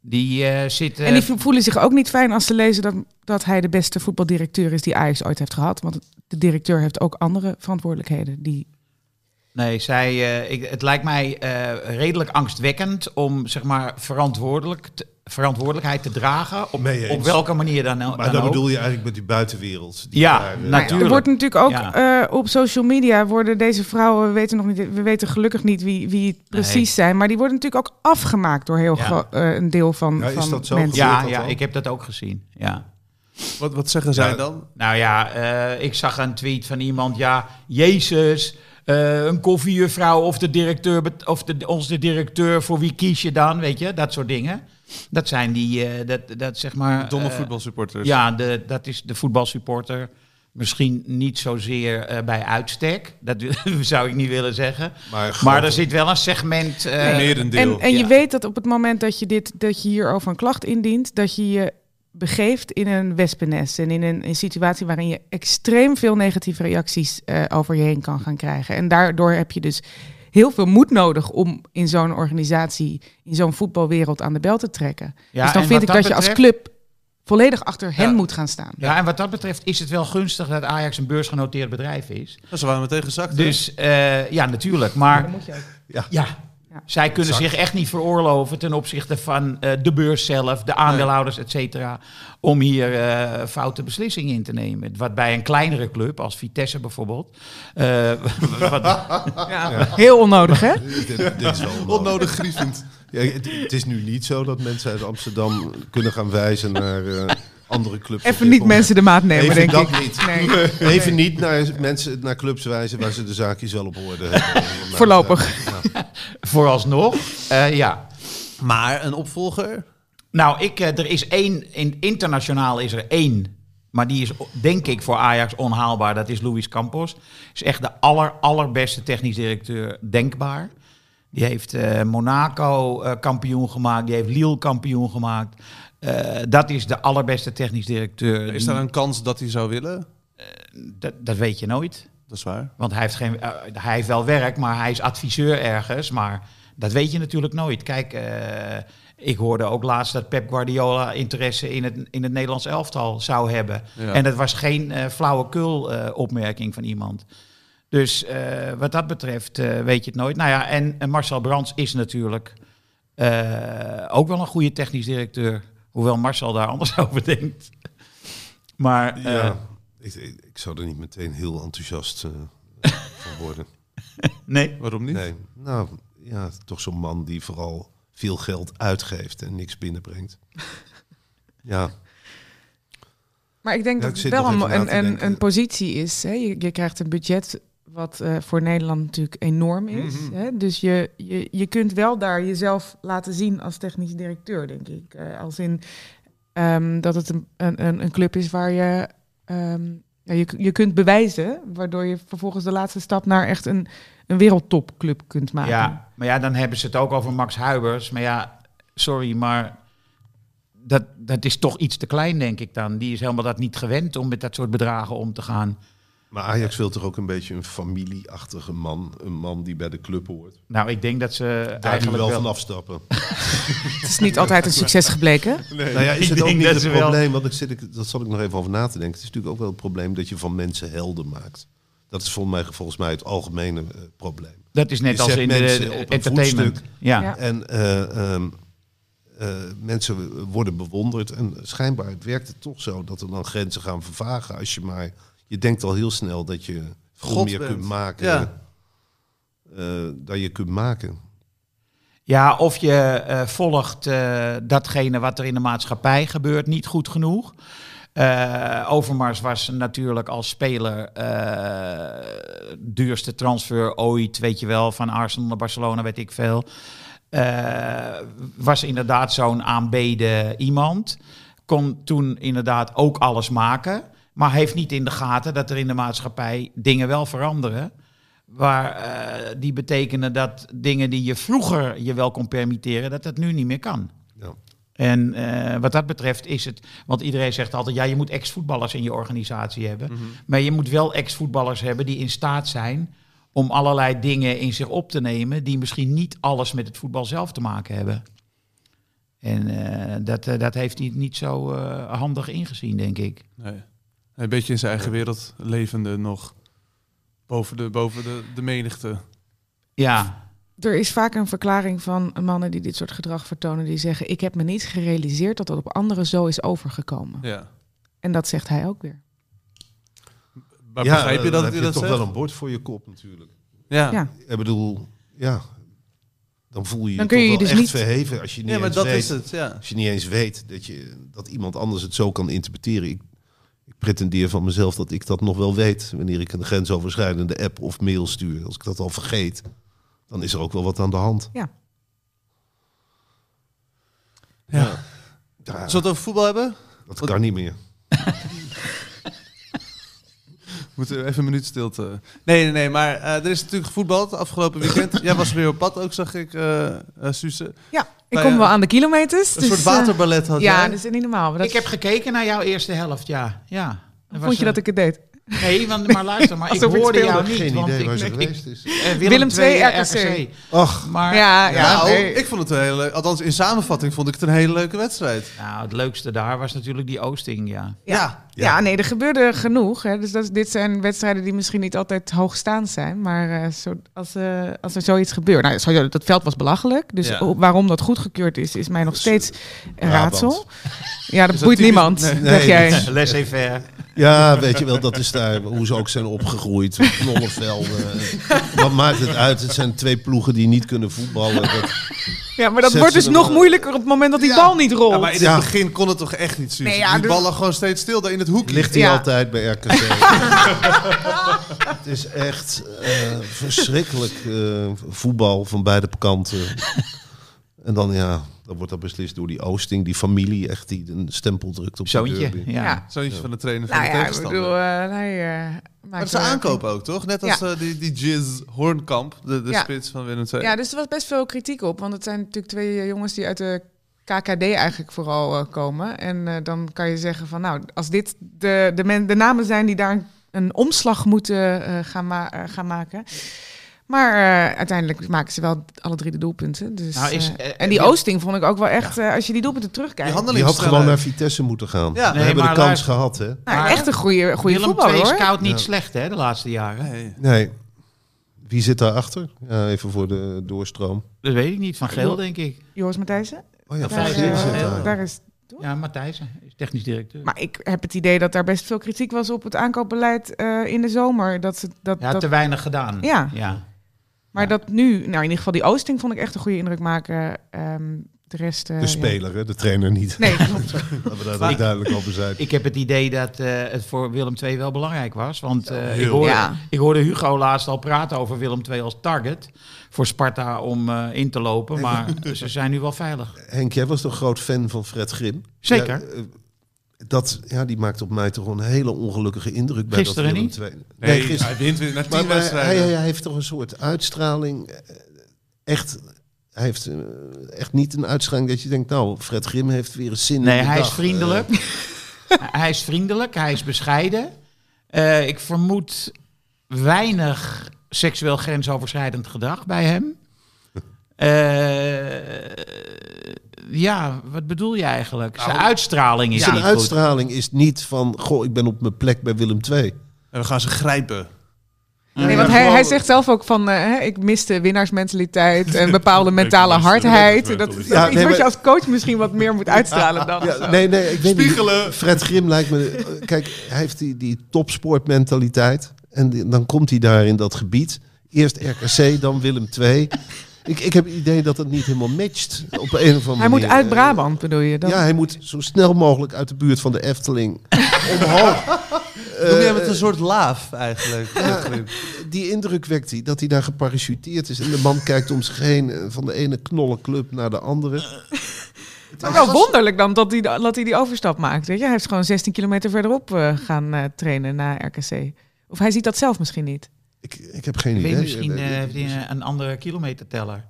[SPEAKER 4] Die eh, zitten.
[SPEAKER 5] En die vo- voelen zich ook niet fijn als ze lezen dat, dat hij de beste voetbaldirecteur is die Ajax ooit heeft gehad. Want de directeur heeft ook andere verantwoordelijkheden. Die...
[SPEAKER 4] Nee, zij, eh, ik, het lijkt mij eh, redelijk angstwekkend om zeg maar, verantwoordelijk te- verantwoordelijkheid te dragen. Op,
[SPEAKER 1] Mee eens.
[SPEAKER 4] op welke manier dan, dan
[SPEAKER 1] Maar dat
[SPEAKER 4] ook.
[SPEAKER 1] bedoel je eigenlijk met die buitenwereld. Die daar,
[SPEAKER 4] Ja,
[SPEAKER 1] eh,
[SPEAKER 4] natuurlijk.
[SPEAKER 5] Nou Er wordt natuurlijk ook
[SPEAKER 4] Ja.
[SPEAKER 5] eh, op social media worden deze vrouwen, we weten, nog niet, we weten gelukkig niet wie, wie het precies
[SPEAKER 4] Nee.
[SPEAKER 5] zijn, maar die worden natuurlijk ook afgemaakt door heel
[SPEAKER 4] Ja.
[SPEAKER 5] gro- eh, een deel van,
[SPEAKER 1] Ja, is
[SPEAKER 5] van
[SPEAKER 1] dat zo?
[SPEAKER 5] mensen.
[SPEAKER 4] Ja,
[SPEAKER 1] dat
[SPEAKER 4] ja
[SPEAKER 1] al?
[SPEAKER 4] ik heb dat ook gezien. Ja.
[SPEAKER 2] Wat, wat zeggen zij
[SPEAKER 1] Ja.
[SPEAKER 2] dan?
[SPEAKER 4] Nou ja, eh, ik zag een tweet van iemand, ja, Jezus, eh, een koffiejuffrouw of, de directeur, bet- of de, ons de directeur, voor wie kies je dan, weet je, dat soort dingen. Dat zijn die, eh, dat, dat zeg maar...
[SPEAKER 2] Domme
[SPEAKER 4] eh,
[SPEAKER 2] voetbalsupporters.
[SPEAKER 4] Ja, de, dat is de voetbalsupporter misschien niet zozeer eh, bij uitstek, dat zou ik niet willen zeggen.
[SPEAKER 1] Maar,
[SPEAKER 4] Maar er zit wel een segment... eh,
[SPEAKER 2] Merendeel.
[SPEAKER 5] En, en je
[SPEAKER 4] Ja.
[SPEAKER 5] weet dat op het moment dat je, dit, dat je hierover een klacht indient, dat je je begeeft in een wespennest en in een, een situatie waarin je extreem veel negatieve reacties eh, over je heen kan gaan krijgen. En daardoor heb je dus heel veel moed nodig om in zo'n organisatie, in zo'n voetbalwereld aan de bel te trekken.
[SPEAKER 4] Ja,
[SPEAKER 5] dus dan
[SPEAKER 4] en
[SPEAKER 5] vind ik
[SPEAKER 4] wat
[SPEAKER 5] dat,
[SPEAKER 4] dat
[SPEAKER 5] je als
[SPEAKER 4] betreft-
[SPEAKER 5] club volledig achter hen
[SPEAKER 2] Ja.
[SPEAKER 5] moet gaan staan.
[SPEAKER 4] ja, en wat dat betreft is het wel gunstig dat Ajax een beursgenoteerd bedrijf is.
[SPEAKER 2] Nou, ze waren meteen gezakt. hè?
[SPEAKER 4] Dus eh, ja, natuurlijk. Maar ja,
[SPEAKER 5] Ja.
[SPEAKER 4] zij kunnen
[SPEAKER 1] Exact.
[SPEAKER 4] zich echt niet veroorloven ten opzichte van eh, de beurs zelf, de aandeelhouders, et cetera, om hier eh, foute beslissingen in te nemen. Wat bij een kleinere club, als Vitesse bijvoorbeeld, eh, wat,
[SPEAKER 5] Heel onnodig, hè?
[SPEAKER 1] dit, dit is wel onnodig.
[SPEAKER 2] Onnodig grievend.
[SPEAKER 1] Ja, het, het is nu niet zo dat mensen uit Amsterdam kunnen gaan wijzen naar eh, andere clubs. op
[SPEAKER 5] Even
[SPEAKER 1] dit
[SPEAKER 5] niet
[SPEAKER 1] moment.
[SPEAKER 5] mensen de maat nemen,
[SPEAKER 1] Even
[SPEAKER 5] denk
[SPEAKER 1] dat
[SPEAKER 5] ik.
[SPEAKER 1] niet.
[SPEAKER 5] Nee.
[SPEAKER 1] Even niet naar mensen naar clubs wijzen waar ze de zaakjes wel op hoorden. hebben. Nou,
[SPEAKER 5] Voorlopig.
[SPEAKER 1] ja.
[SPEAKER 4] vooralsnog, eh, ja.
[SPEAKER 2] Maar een opvolger?
[SPEAKER 4] Nou, ik, eh, er is één, in, internationaal is er één, maar die is o- denk ik voor Ajax onhaalbaar. Dat is Luis Campos. Is echt de aller, allerbeste technisch directeur denkbaar. Die heeft eh, Monaco eh, kampioen gemaakt, die heeft Lille kampioen gemaakt. Eh, dat is de allerbeste technisch directeur.
[SPEAKER 2] Is daar een kans dat hij zou willen?
[SPEAKER 4] dat, dat weet je nooit.
[SPEAKER 2] Dat is waar.
[SPEAKER 4] Want hij heeft, geen, eh, hij heeft wel werk, maar hij is adviseur ergens. Maar dat weet je natuurlijk nooit. Kijk, eh, ik hoorde ook laatst dat Pep Guardiola interesse in het, in het Nederlands elftal zou hebben.
[SPEAKER 2] Ja.
[SPEAKER 4] En dat was geen eh flauwekul eh, opmerking van iemand. Dus eh, wat dat betreft eh, weet je het nooit. Nou ja, en, en Marcel Brands is natuurlijk eh, ook wel een goede technisch directeur. Hoewel Marcel daar anders over denkt. Maar eh,
[SPEAKER 1] Ja. Ik, ik, ik zou er niet meteen heel enthousiast eh, van worden.
[SPEAKER 4] nee.
[SPEAKER 2] Waarom niet?
[SPEAKER 1] Nee. Nou, ja, toch zo'n man die vooral veel geld uitgeeft en niks binnenbrengt. Ja,
[SPEAKER 5] Maar ik denk
[SPEAKER 1] Ja, ik
[SPEAKER 5] dat het
[SPEAKER 1] zit nog
[SPEAKER 5] wel een,
[SPEAKER 1] even na te
[SPEAKER 5] een, een,
[SPEAKER 1] denken.
[SPEAKER 5] een positie is. Hè? Je, je krijgt een budget Wat eh, voor Nederland natuurlijk enorm is.
[SPEAKER 2] Mhm.
[SPEAKER 5] hè? Dus je, je, je kunt wel daar jezelf laten zien als technisch directeur, denk ik. Eh, als in ehm, dat het een, een, een- een club is waar je, ehm, ja, je, je kunt bewijzen, waardoor je vervolgens de laatste stap naar echt een, een wereldtopclub kunt maken.
[SPEAKER 4] Ja, maar ja, dan hebben ze het ook over Max Huibers. Maar ja, sorry, maar dat, dat is toch iets te klein, denk ik dan. Die is helemaal dat niet gewend om met dat soort bedragen om te gaan.
[SPEAKER 1] Maar Ajax wil toch ook een beetje een familieachtige man. Een man die bij de club hoort.
[SPEAKER 4] Nou, ik denk dat ze
[SPEAKER 1] Daar nu
[SPEAKER 4] eigenlijk
[SPEAKER 1] wel
[SPEAKER 4] wel...
[SPEAKER 1] van afstappen.
[SPEAKER 5] Het is niet altijd een succes gebleken.
[SPEAKER 1] Nou ja, is
[SPEAKER 4] Ik
[SPEAKER 1] het ook
[SPEAKER 4] denk
[SPEAKER 1] niet
[SPEAKER 4] dat
[SPEAKER 1] het
[SPEAKER 4] ze wel-
[SPEAKER 1] probleem, want ik zit, ik, dat zat ik nog even over na te denken. Het is natuurlijk ook wel het probleem dat je van mensen helden maakt. Dat is volgens mij, volgens mij het algemene eh, probleem.
[SPEAKER 4] Dat is net
[SPEAKER 1] Je
[SPEAKER 4] als
[SPEAKER 1] zet
[SPEAKER 4] in
[SPEAKER 1] mensen
[SPEAKER 4] de
[SPEAKER 1] op een
[SPEAKER 4] entertainment.
[SPEAKER 1] voetstuk.
[SPEAKER 4] Ja.
[SPEAKER 5] Ja.
[SPEAKER 1] En eh, ehm, eh, mensen worden bewonderd. En schijnbaar het werkt het toch zo dat er dan grenzen gaan vervagen. Als je maar, je denkt al heel snel dat je veel
[SPEAKER 2] God
[SPEAKER 1] meer
[SPEAKER 2] bent.
[SPEAKER 1] kunt maken
[SPEAKER 2] Ja.
[SPEAKER 1] eh, dan je kunt maken.
[SPEAKER 4] ja, of je eh, volgt eh, datgene wat er in de maatschappij gebeurt niet goed genoeg. Eh, Overmars was natuurlijk als speler eh, duurste transfer ooit, weet je wel, van Arsenal naar Barcelona, weet ik veel. Eh, was inderdaad zo'n aanbeden iemand. Kon toen inderdaad ook alles maken, maar heeft niet in de gaten dat er in de maatschappij dingen wel veranderen. Waar eh, die betekenen dat dingen die je vroeger je wel kon permitteren, dat dat nu niet meer kan.
[SPEAKER 1] Ja.
[SPEAKER 4] En eh, wat dat betreft is het, want iedereen zegt altijd, ja, je moet ex-voetballers in je organisatie hebben.
[SPEAKER 2] Mhm.
[SPEAKER 4] Maar je moet wel ex-voetballers hebben die in staat zijn om allerlei dingen in zich op te nemen die misschien niet alles met het voetbal zelf te maken hebben. En eh, dat, eh, dat heeft hij niet zo eh, handig ingezien, denk ik.
[SPEAKER 2] Nee. Een beetje in zijn eigen wereld levende nog. Boven de, boven de, de menigte.
[SPEAKER 4] Ja,
[SPEAKER 5] Er is vaak een verklaring van mannen die dit soort gedrag vertonen, die zeggen: Ik heb me niet gerealiseerd dat dat op anderen zo is overgekomen.
[SPEAKER 2] Ja.
[SPEAKER 5] En dat zegt hij ook weer.
[SPEAKER 2] Maar
[SPEAKER 1] Ja,
[SPEAKER 2] begrijp je
[SPEAKER 1] dan
[SPEAKER 2] dat
[SPEAKER 1] heb
[SPEAKER 2] hij
[SPEAKER 1] je
[SPEAKER 2] dat
[SPEAKER 1] toch
[SPEAKER 2] zegt?
[SPEAKER 1] wel een bord voor je kop natuurlijk.
[SPEAKER 2] Ja.
[SPEAKER 5] Ja.
[SPEAKER 1] Ik bedoel, ja, dan voel je je,
[SPEAKER 5] Dan kun
[SPEAKER 1] toch
[SPEAKER 5] je je
[SPEAKER 1] wel
[SPEAKER 5] dus
[SPEAKER 1] echt
[SPEAKER 5] niet-
[SPEAKER 1] verheven als je niet
[SPEAKER 2] ja, maar
[SPEAKER 1] eens
[SPEAKER 2] dat
[SPEAKER 1] weet,
[SPEAKER 2] is het. Ja.
[SPEAKER 1] als je niet eens weet dat je dat iemand anders het zo kan interpreteren. Ik, ik pretendeer van mezelf dat ik dat nog wel weet wanneer ik een grensoverschrijdende app of mail stuur. Als ik dat al vergeet, dan is er ook wel wat aan de hand.
[SPEAKER 5] Ja.
[SPEAKER 2] Ja.
[SPEAKER 1] Ja,
[SPEAKER 2] Zullen we het over voetbal hebben?
[SPEAKER 1] dat kan niet meer.
[SPEAKER 2] Moeten we even een minuut stilte. Nee, nee, nee. Maar eh, er is natuurlijk gevoetbald afgelopen weekend. Jij was weer op pad ook, zag ik, eh eh, Suze.
[SPEAKER 5] Ja, ik
[SPEAKER 2] Nou
[SPEAKER 5] kom
[SPEAKER 2] ja,
[SPEAKER 5] wel aan de kilometers.
[SPEAKER 2] Een
[SPEAKER 5] dus,
[SPEAKER 2] soort
[SPEAKER 5] eh,
[SPEAKER 2] waterballet had
[SPEAKER 5] ja,
[SPEAKER 2] jij.
[SPEAKER 5] dat is niet normaal. maar Dat
[SPEAKER 4] ik heb gekeken naar jouw eerste helft, ja. ja. Er was
[SPEAKER 5] vond je
[SPEAKER 4] een-
[SPEAKER 5] dat ik het deed?
[SPEAKER 4] Nee, want, maar luister, maar ik
[SPEAKER 5] Alsof ik
[SPEAKER 4] hoorde
[SPEAKER 5] speelde.
[SPEAKER 4] jou niet.
[SPEAKER 1] Geen
[SPEAKER 4] want
[SPEAKER 1] idee
[SPEAKER 4] ik,
[SPEAKER 1] waar ze
[SPEAKER 4] ik-
[SPEAKER 1] geweest is.
[SPEAKER 4] eh, Willem,
[SPEAKER 5] Willem
[SPEAKER 4] II,
[SPEAKER 5] II,
[SPEAKER 4] RKC.
[SPEAKER 1] Ach,
[SPEAKER 4] Maar
[SPEAKER 5] ja, ja,
[SPEAKER 2] Nou,
[SPEAKER 5] nee.
[SPEAKER 2] ik vond het een hele leuke... Althans, in samenvatting vond ik het een hele leuke wedstrijd.
[SPEAKER 4] Nou, het leukste daar was natuurlijk die Oosting, ja.
[SPEAKER 5] Ja.
[SPEAKER 2] Ja.
[SPEAKER 5] ja. nee, er gebeurde genoeg. Hè. Dus dat, dit zijn wedstrijden die misschien niet altijd hoogstaand zijn. Maar eh, zo, als, eh, als er zoiets gebeurt. Nou, sowieso, dat veld was belachelijk. Dus
[SPEAKER 2] Ja. Dus, eh,
[SPEAKER 5] o- waarom dat goedgekeurd is, is mij nog steeds een
[SPEAKER 1] Brabant.
[SPEAKER 5] raadsel. Ja, dat
[SPEAKER 2] dat
[SPEAKER 5] boeit
[SPEAKER 2] typisch-
[SPEAKER 5] niemand,
[SPEAKER 2] Nee,
[SPEAKER 5] zeg jij.
[SPEAKER 4] Laissez-faire.
[SPEAKER 1] ja, weet je wel, dat is daar hoe ze ook zijn opgegroeid. Knollenvelden. Wat maakt het uit? Het zijn twee ploegen die niet kunnen voetballen. Dat,
[SPEAKER 5] Ja, maar dat
[SPEAKER 1] Zet
[SPEAKER 5] wordt
[SPEAKER 1] ze
[SPEAKER 5] dus
[SPEAKER 1] er
[SPEAKER 5] nog
[SPEAKER 1] wel-
[SPEAKER 5] moeilijker op het moment dat die
[SPEAKER 1] Ja.
[SPEAKER 5] bal niet rolt.
[SPEAKER 2] Ja, maar in het
[SPEAKER 1] Ja.
[SPEAKER 2] begin kon het toch echt niet, Suze?
[SPEAKER 5] Nee, ja,
[SPEAKER 2] die
[SPEAKER 5] dus-
[SPEAKER 2] ballen gewoon steeds stil daar in het hoekje.
[SPEAKER 1] Ligt hij
[SPEAKER 5] Ja.
[SPEAKER 1] altijd bij RKC. het is echt eh, verschrikkelijk eh, voetbal van beide kanten. En dan ja, dan wordt dat beslist door die Oosting, die familie echt die een stempel drukt op de
[SPEAKER 4] Zoontje,
[SPEAKER 1] derby.
[SPEAKER 4] ja.
[SPEAKER 5] Ja.
[SPEAKER 2] Zoiets van de trainer van
[SPEAKER 5] nou
[SPEAKER 2] de
[SPEAKER 5] ja, ik
[SPEAKER 2] tegenstander.
[SPEAKER 5] bedoel, eh, hij eh,
[SPEAKER 2] maar
[SPEAKER 5] maakt
[SPEAKER 2] dat is een
[SPEAKER 5] wel-
[SPEAKER 2] aankoop ook, toch? Net als eh, die, die Jizz Hoornkamp, de, de
[SPEAKER 5] Ja.
[SPEAKER 2] spits van Willem II.
[SPEAKER 5] Ja, dus er was best veel kritiek op. Want het zijn natuurlijk twee eh, jongens die uit de KKD eigenlijk vooral eh, komen. En eh, dan kan je zeggen van nou, als dit de, de, men, de namen zijn die daar een, een omslag moeten eh, gaan, ma- eh, gaan maken. Maar eh, uiteindelijk maken ze wel alle drie de doelpunten. Dus,
[SPEAKER 4] Nou, is,
[SPEAKER 5] eh,
[SPEAKER 4] eh,
[SPEAKER 5] en die
[SPEAKER 4] Wil-
[SPEAKER 5] Oosting vond ik ook wel echt, eh, als je die doelpunten
[SPEAKER 2] Die
[SPEAKER 5] terugkijkt.
[SPEAKER 1] Die had gewoon naar
[SPEAKER 2] handelingssnelheid.
[SPEAKER 1] Vitesse moeten gaan.
[SPEAKER 2] Ja.
[SPEAKER 1] We
[SPEAKER 4] Nee,
[SPEAKER 1] hebben de
[SPEAKER 4] maar
[SPEAKER 1] kans
[SPEAKER 4] luister-
[SPEAKER 1] gehad, hè?
[SPEAKER 5] Nou,
[SPEAKER 4] Maar-
[SPEAKER 5] echt een goede, goede
[SPEAKER 4] Willem
[SPEAKER 5] voetballer
[SPEAKER 4] II is
[SPEAKER 5] hoor.
[SPEAKER 4] koud niet
[SPEAKER 1] Ja.
[SPEAKER 4] slecht, hè, de laatste jaren.
[SPEAKER 2] Nee.
[SPEAKER 1] Nee. Wie zit daarachter? Ja, even voor de doorstroom.
[SPEAKER 4] Dat weet ik niet, van Geel, denk ik.
[SPEAKER 5] Joris Matthijssen.
[SPEAKER 1] Oh ja,
[SPEAKER 4] Ja,
[SPEAKER 1] Van
[SPEAKER 5] Daar,
[SPEAKER 4] Vijf,
[SPEAKER 1] Geel
[SPEAKER 5] eh,
[SPEAKER 1] zit
[SPEAKER 4] ja.
[SPEAKER 1] daar.
[SPEAKER 5] daar is
[SPEAKER 4] Ja, Matthijsen is technisch directeur.
[SPEAKER 5] Maar ik heb het idee dat daar best veel kritiek was op het aankoopbeleid eh, in de zomer. Dat ze, dat,
[SPEAKER 4] ja,
[SPEAKER 5] dat,
[SPEAKER 4] te weinig gedaan.
[SPEAKER 5] Ja.
[SPEAKER 4] ja.
[SPEAKER 5] maar
[SPEAKER 4] ja.
[SPEAKER 5] dat nu, nou in ieder geval die Oosting vond ik echt een goede indruk maken. Ehm, de rest... eh,
[SPEAKER 1] De
[SPEAKER 5] ja.
[SPEAKER 1] speler, hè, de trainer niet.
[SPEAKER 5] Nee, klopt.
[SPEAKER 1] Laten we daar ook
[SPEAKER 4] Ik-
[SPEAKER 1] duidelijk over zijn.
[SPEAKER 4] Ik heb het idee dat eh, het voor Willem II wel belangrijk was. Want eh, ik, hoorde,
[SPEAKER 5] Ja.
[SPEAKER 4] ik hoorde Hugo laatst al praten over Willem II als target voor Sparta om eh, in te lopen. Maar ze zijn nu wel veilig.
[SPEAKER 1] Henk, jij was toch groot fan van Fred Grim? Ja,
[SPEAKER 4] Zeker.
[SPEAKER 1] eh, dat, ja, die maakt op mij toch een hele ongelukkige indruk. Bij
[SPEAKER 4] Gisteren
[SPEAKER 1] dat Willem
[SPEAKER 4] niet?
[SPEAKER 1] II. Nee,
[SPEAKER 2] Nee,
[SPEAKER 1] gisteren.
[SPEAKER 2] hij wint weer na
[SPEAKER 1] Maar,
[SPEAKER 2] tien
[SPEAKER 1] maar hij,
[SPEAKER 2] wedstrijden.
[SPEAKER 1] hij heeft toch een soort uitstraling. eh, Echt, hij heeft eh, echt niet een uitstraling dat je denkt, nou, Fred Grim heeft weer een zin
[SPEAKER 4] Nee,
[SPEAKER 1] in de eh.
[SPEAKER 4] hij is
[SPEAKER 1] dag.
[SPEAKER 4] vriendelijk. hij is vriendelijk, hij is bescheiden. Eh, ik vermoed weinig seksueel grensoverschrijdend gedrag bij hem. Eh, ja, wat bedoel je eigenlijk? Zijn uitstraling is
[SPEAKER 1] Eh, Nou, zijn
[SPEAKER 4] niet goed.
[SPEAKER 1] uitstraling is niet van, goh, ik ben op mijn plek bij Willem II.
[SPEAKER 2] En we gaan ze grijpen.
[SPEAKER 5] Nee, want hij, hij zegt zelf ook van, eh, hè, ik mis de winnaarsmentaliteit en bepaalde mentale
[SPEAKER 6] mis de
[SPEAKER 5] hardheid. Dat is
[SPEAKER 6] winnaarsmentaliteit.
[SPEAKER 1] Ja,
[SPEAKER 5] iets
[SPEAKER 1] nee,
[SPEAKER 5] wat je
[SPEAKER 1] maar- Ah,
[SPEAKER 5] als coach misschien wat meer moet uitstralen dan.
[SPEAKER 1] Ja, nee, nee, ik weet
[SPEAKER 2] Spiegelen.
[SPEAKER 1] niet. Fred Grim lijkt me. eh, Kijk, hij heeft die, die topsportmentaliteit. En die- dan komt hij daar in dat gebied. Eerst RKC, dan Willem II. Ik, ik heb het idee dat dat niet helemaal matcht. Op een of andere
[SPEAKER 5] Hij moet
[SPEAKER 1] manier. Eh,
[SPEAKER 5] uit Brabant, bedoel je? Dan?
[SPEAKER 1] Ja, hij moet zo snel mogelijk uit de buurt van de Efteling.
[SPEAKER 2] Eh,
[SPEAKER 7] Noem jij met een soort laaf eigenlijk? Fred Grim?
[SPEAKER 1] Die indruk wekt hij dat hij daar geparachuteerd is. En de man kijkt om zich heen eh, van de ene knollenclub naar de andere.
[SPEAKER 5] Maar wel wonderlijk dan dat hij, dat hij die overstap maakt. Weet je? Hij heeft gewoon 16 kilometer verderop eh, gaan eh, trainen na RKC. Of hij ziet dat zelf misschien niet.
[SPEAKER 1] Ik, ik heb geen
[SPEAKER 4] Ik weet
[SPEAKER 1] idee.
[SPEAKER 4] misschien eh, heeft hij een- een andere kilometerteller.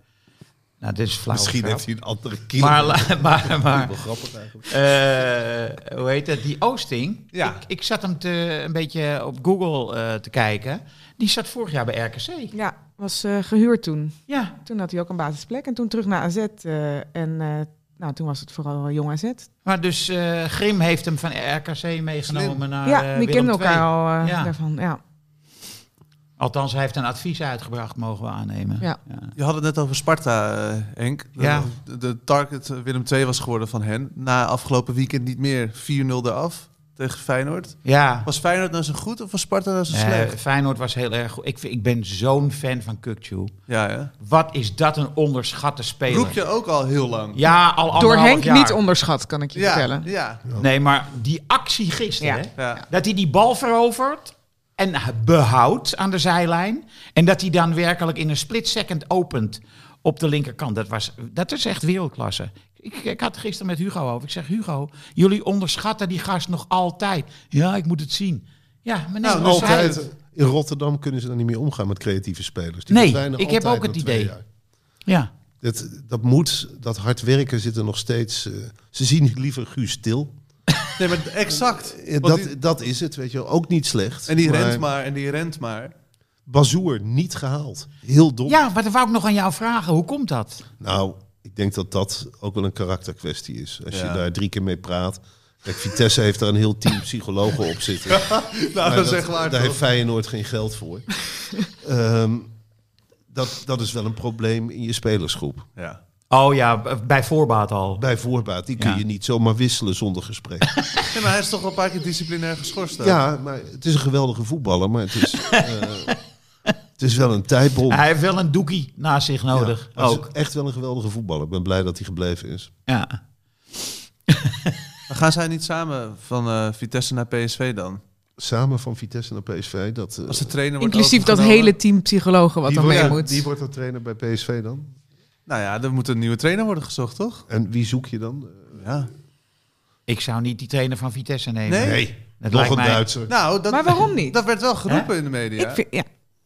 [SPEAKER 4] Nou, dit is flauw.
[SPEAKER 1] Misschien
[SPEAKER 4] grap.
[SPEAKER 1] heeft hij een andere kilo.
[SPEAKER 4] Maar, la- maar, maar
[SPEAKER 1] Wel grappig eigenlijk.
[SPEAKER 4] eh, hoe heet het? Die Oosting.
[SPEAKER 2] Ja.
[SPEAKER 4] Ik, ik zat hem te, een beetje op Google eh, te kijken. Die zat vorig jaar bij RKC.
[SPEAKER 5] Ja, was eh, gehuurd toen.
[SPEAKER 4] Ja,
[SPEAKER 5] Toen had hij ook een basisplek en toen terug naar AZ. eh, en eh, nou, toen was het vooral jong AZ.
[SPEAKER 4] maar dus eh, Grim heeft hem van RKC meegenomen naar
[SPEAKER 5] ja,
[SPEAKER 4] eh,
[SPEAKER 5] die
[SPEAKER 4] Willem
[SPEAKER 5] kenden elkaar
[SPEAKER 4] II.
[SPEAKER 5] al eh,
[SPEAKER 4] Ja.
[SPEAKER 5] daarvan. Ja.
[SPEAKER 4] Althans, hij heeft een advies uitgebracht, mogen we aannemen.
[SPEAKER 5] Ja.
[SPEAKER 2] Je had het net over Sparta, eh, Henk. De,
[SPEAKER 4] Ja.
[SPEAKER 2] de, de target eh, Willem II was geworden van hen. Na afgelopen weekend niet meer 4-0 eraf tegen Feyenoord.
[SPEAKER 4] ja.
[SPEAKER 2] Was Feyenoord nou zo goed of was Sparta nou zo
[SPEAKER 4] Eh,
[SPEAKER 2] slecht?
[SPEAKER 4] Feyenoord was heel erg goed. Ik, vind- ik ben zo'n fan van Kukcu.
[SPEAKER 2] Ja, ja.
[SPEAKER 4] Wat is dat een onderschatte speler.
[SPEAKER 2] Roep je ook al heel lang.
[SPEAKER 4] Ja, al
[SPEAKER 5] Door
[SPEAKER 4] anderhalf
[SPEAKER 5] Henk
[SPEAKER 4] jaar.
[SPEAKER 5] niet onderschat, kan ik je vertellen.
[SPEAKER 2] ja.
[SPEAKER 4] Nee, maar die actie gisteren.
[SPEAKER 5] Ja.
[SPEAKER 4] hè?
[SPEAKER 2] ja.
[SPEAKER 4] Dat hij die bal verovert en behoudt aan de zijlijn. En dat hij dan werkelijk in een split second opent op de linkerkant. Dat, was, dat is echt wereldklasse. Ik, ik had het gisteren met Hugo over. Ik zeg, Hugo, jullie onderschatten die gast nog altijd. Ja, ik moet het zien. Ja, maar nee,
[SPEAKER 1] Nou,
[SPEAKER 4] dus hij-
[SPEAKER 1] altijd. In Rotterdam kunnen ze dan niet meer omgaan met creatieve spelers.
[SPEAKER 4] Nee,
[SPEAKER 1] verdwijnen
[SPEAKER 4] ik heb
[SPEAKER 1] altijd
[SPEAKER 4] ook het
[SPEAKER 1] na twee
[SPEAKER 4] idee.
[SPEAKER 1] jaar.
[SPEAKER 4] Ja,
[SPEAKER 1] Dat, dat moet, dat hard werken zit er nog steeds. eh, ze zien liever Guus stil.
[SPEAKER 2] Nee, maar exact.
[SPEAKER 1] Eh,
[SPEAKER 2] Want
[SPEAKER 1] Dat,
[SPEAKER 2] die-
[SPEAKER 1] dat is het, weet je wel. Ook niet slecht.
[SPEAKER 2] en die
[SPEAKER 1] maar
[SPEAKER 2] rent maar, en die rent maar.
[SPEAKER 1] Bazoer niet gehaald. Heel dom.
[SPEAKER 4] ja maar dat wou ik nog aan jou vragen. Hoe komt dat?
[SPEAKER 1] Nou, ik denk dat dat ook wel een karakterkwestie is. Als
[SPEAKER 2] Ja.
[SPEAKER 1] je daar drie keer mee praat. Kijk, Vitesse heeft daar een heel team psychologen op zitten.
[SPEAKER 2] Nou,
[SPEAKER 1] Maar
[SPEAKER 2] dat
[SPEAKER 1] dat-
[SPEAKER 2] zeg maar.
[SPEAKER 1] Daar
[SPEAKER 2] toch.
[SPEAKER 1] heeft Feyenoord geen geld voor. Ehm, dat, dat is wel een probleem in je spelersgroep.
[SPEAKER 2] Ja.
[SPEAKER 4] Oh ja, bij voorbaat al.
[SPEAKER 1] Bij voorbaat, die kun
[SPEAKER 4] Ja.
[SPEAKER 1] je niet zomaar wisselen zonder gesprek.
[SPEAKER 2] Nee, maar hij is toch wel een paar keer disciplinair geschorst. ook.
[SPEAKER 1] ja, maar het is een geweldige voetballer, maar het is, eh, het is wel een tijdbom.
[SPEAKER 4] Hij heeft wel een doekie naast zich
[SPEAKER 1] Ja,
[SPEAKER 4] nodig.
[SPEAKER 1] maar het is
[SPEAKER 4] ook.
[SPEAKER 1] Echt wel een geweldige voetballer. Ik ben blij dat hij gebleven is.
[SPEAKER 4] Ja.
[SPEAKER 2] Maar gaan zij niet samen van eh, Vitesse naar PSV dan?
[SPEAKER 1] Samen van Vitesse naar PSV. Dat, eh,
[SPEAKER 2] Als de trainer wordt
[SPEAKER 5] Inclusief dat
[SPEAKER 2] overgenomen-
[SPEAKER 5] hele team psychologen wat
[SPEAKER 1] wie
[SPEAKER 5] dan
[SPEAKER 1] wordt-
[SPEAKER 5] mee
[SPEAKER 1] ja,
[SPEAKER 5] moet.
[SPEAKER 1] Wie wordt dat trainer bij PSV dan?
[SPEAKER 2] Nou ja, er moet een nieuwe trainer worden gezocht, toch?
[SPEAKER 1] En wie zoek je dan? Eh,
[SPEAKER 2] Ja.
[SPEAKER 4] Ik zou niet die trainer van Vitesse nemen.
[SPEAKER 2] Nee.
[SPEAKER 1] nog
[SPEAKER 4] Dat lijkt
[SPEAKER 1] een
[SPEAKER 4] mij-
[SPEAKER 1] Duitser.
[SPEAKER 2] Nou, dat,
[SPEAKER 5] Maar waarom niet?
[SPEAKER 2] Dat werd wel geroepen in de media.
[SPEAKER 5] Ik, vind, ja,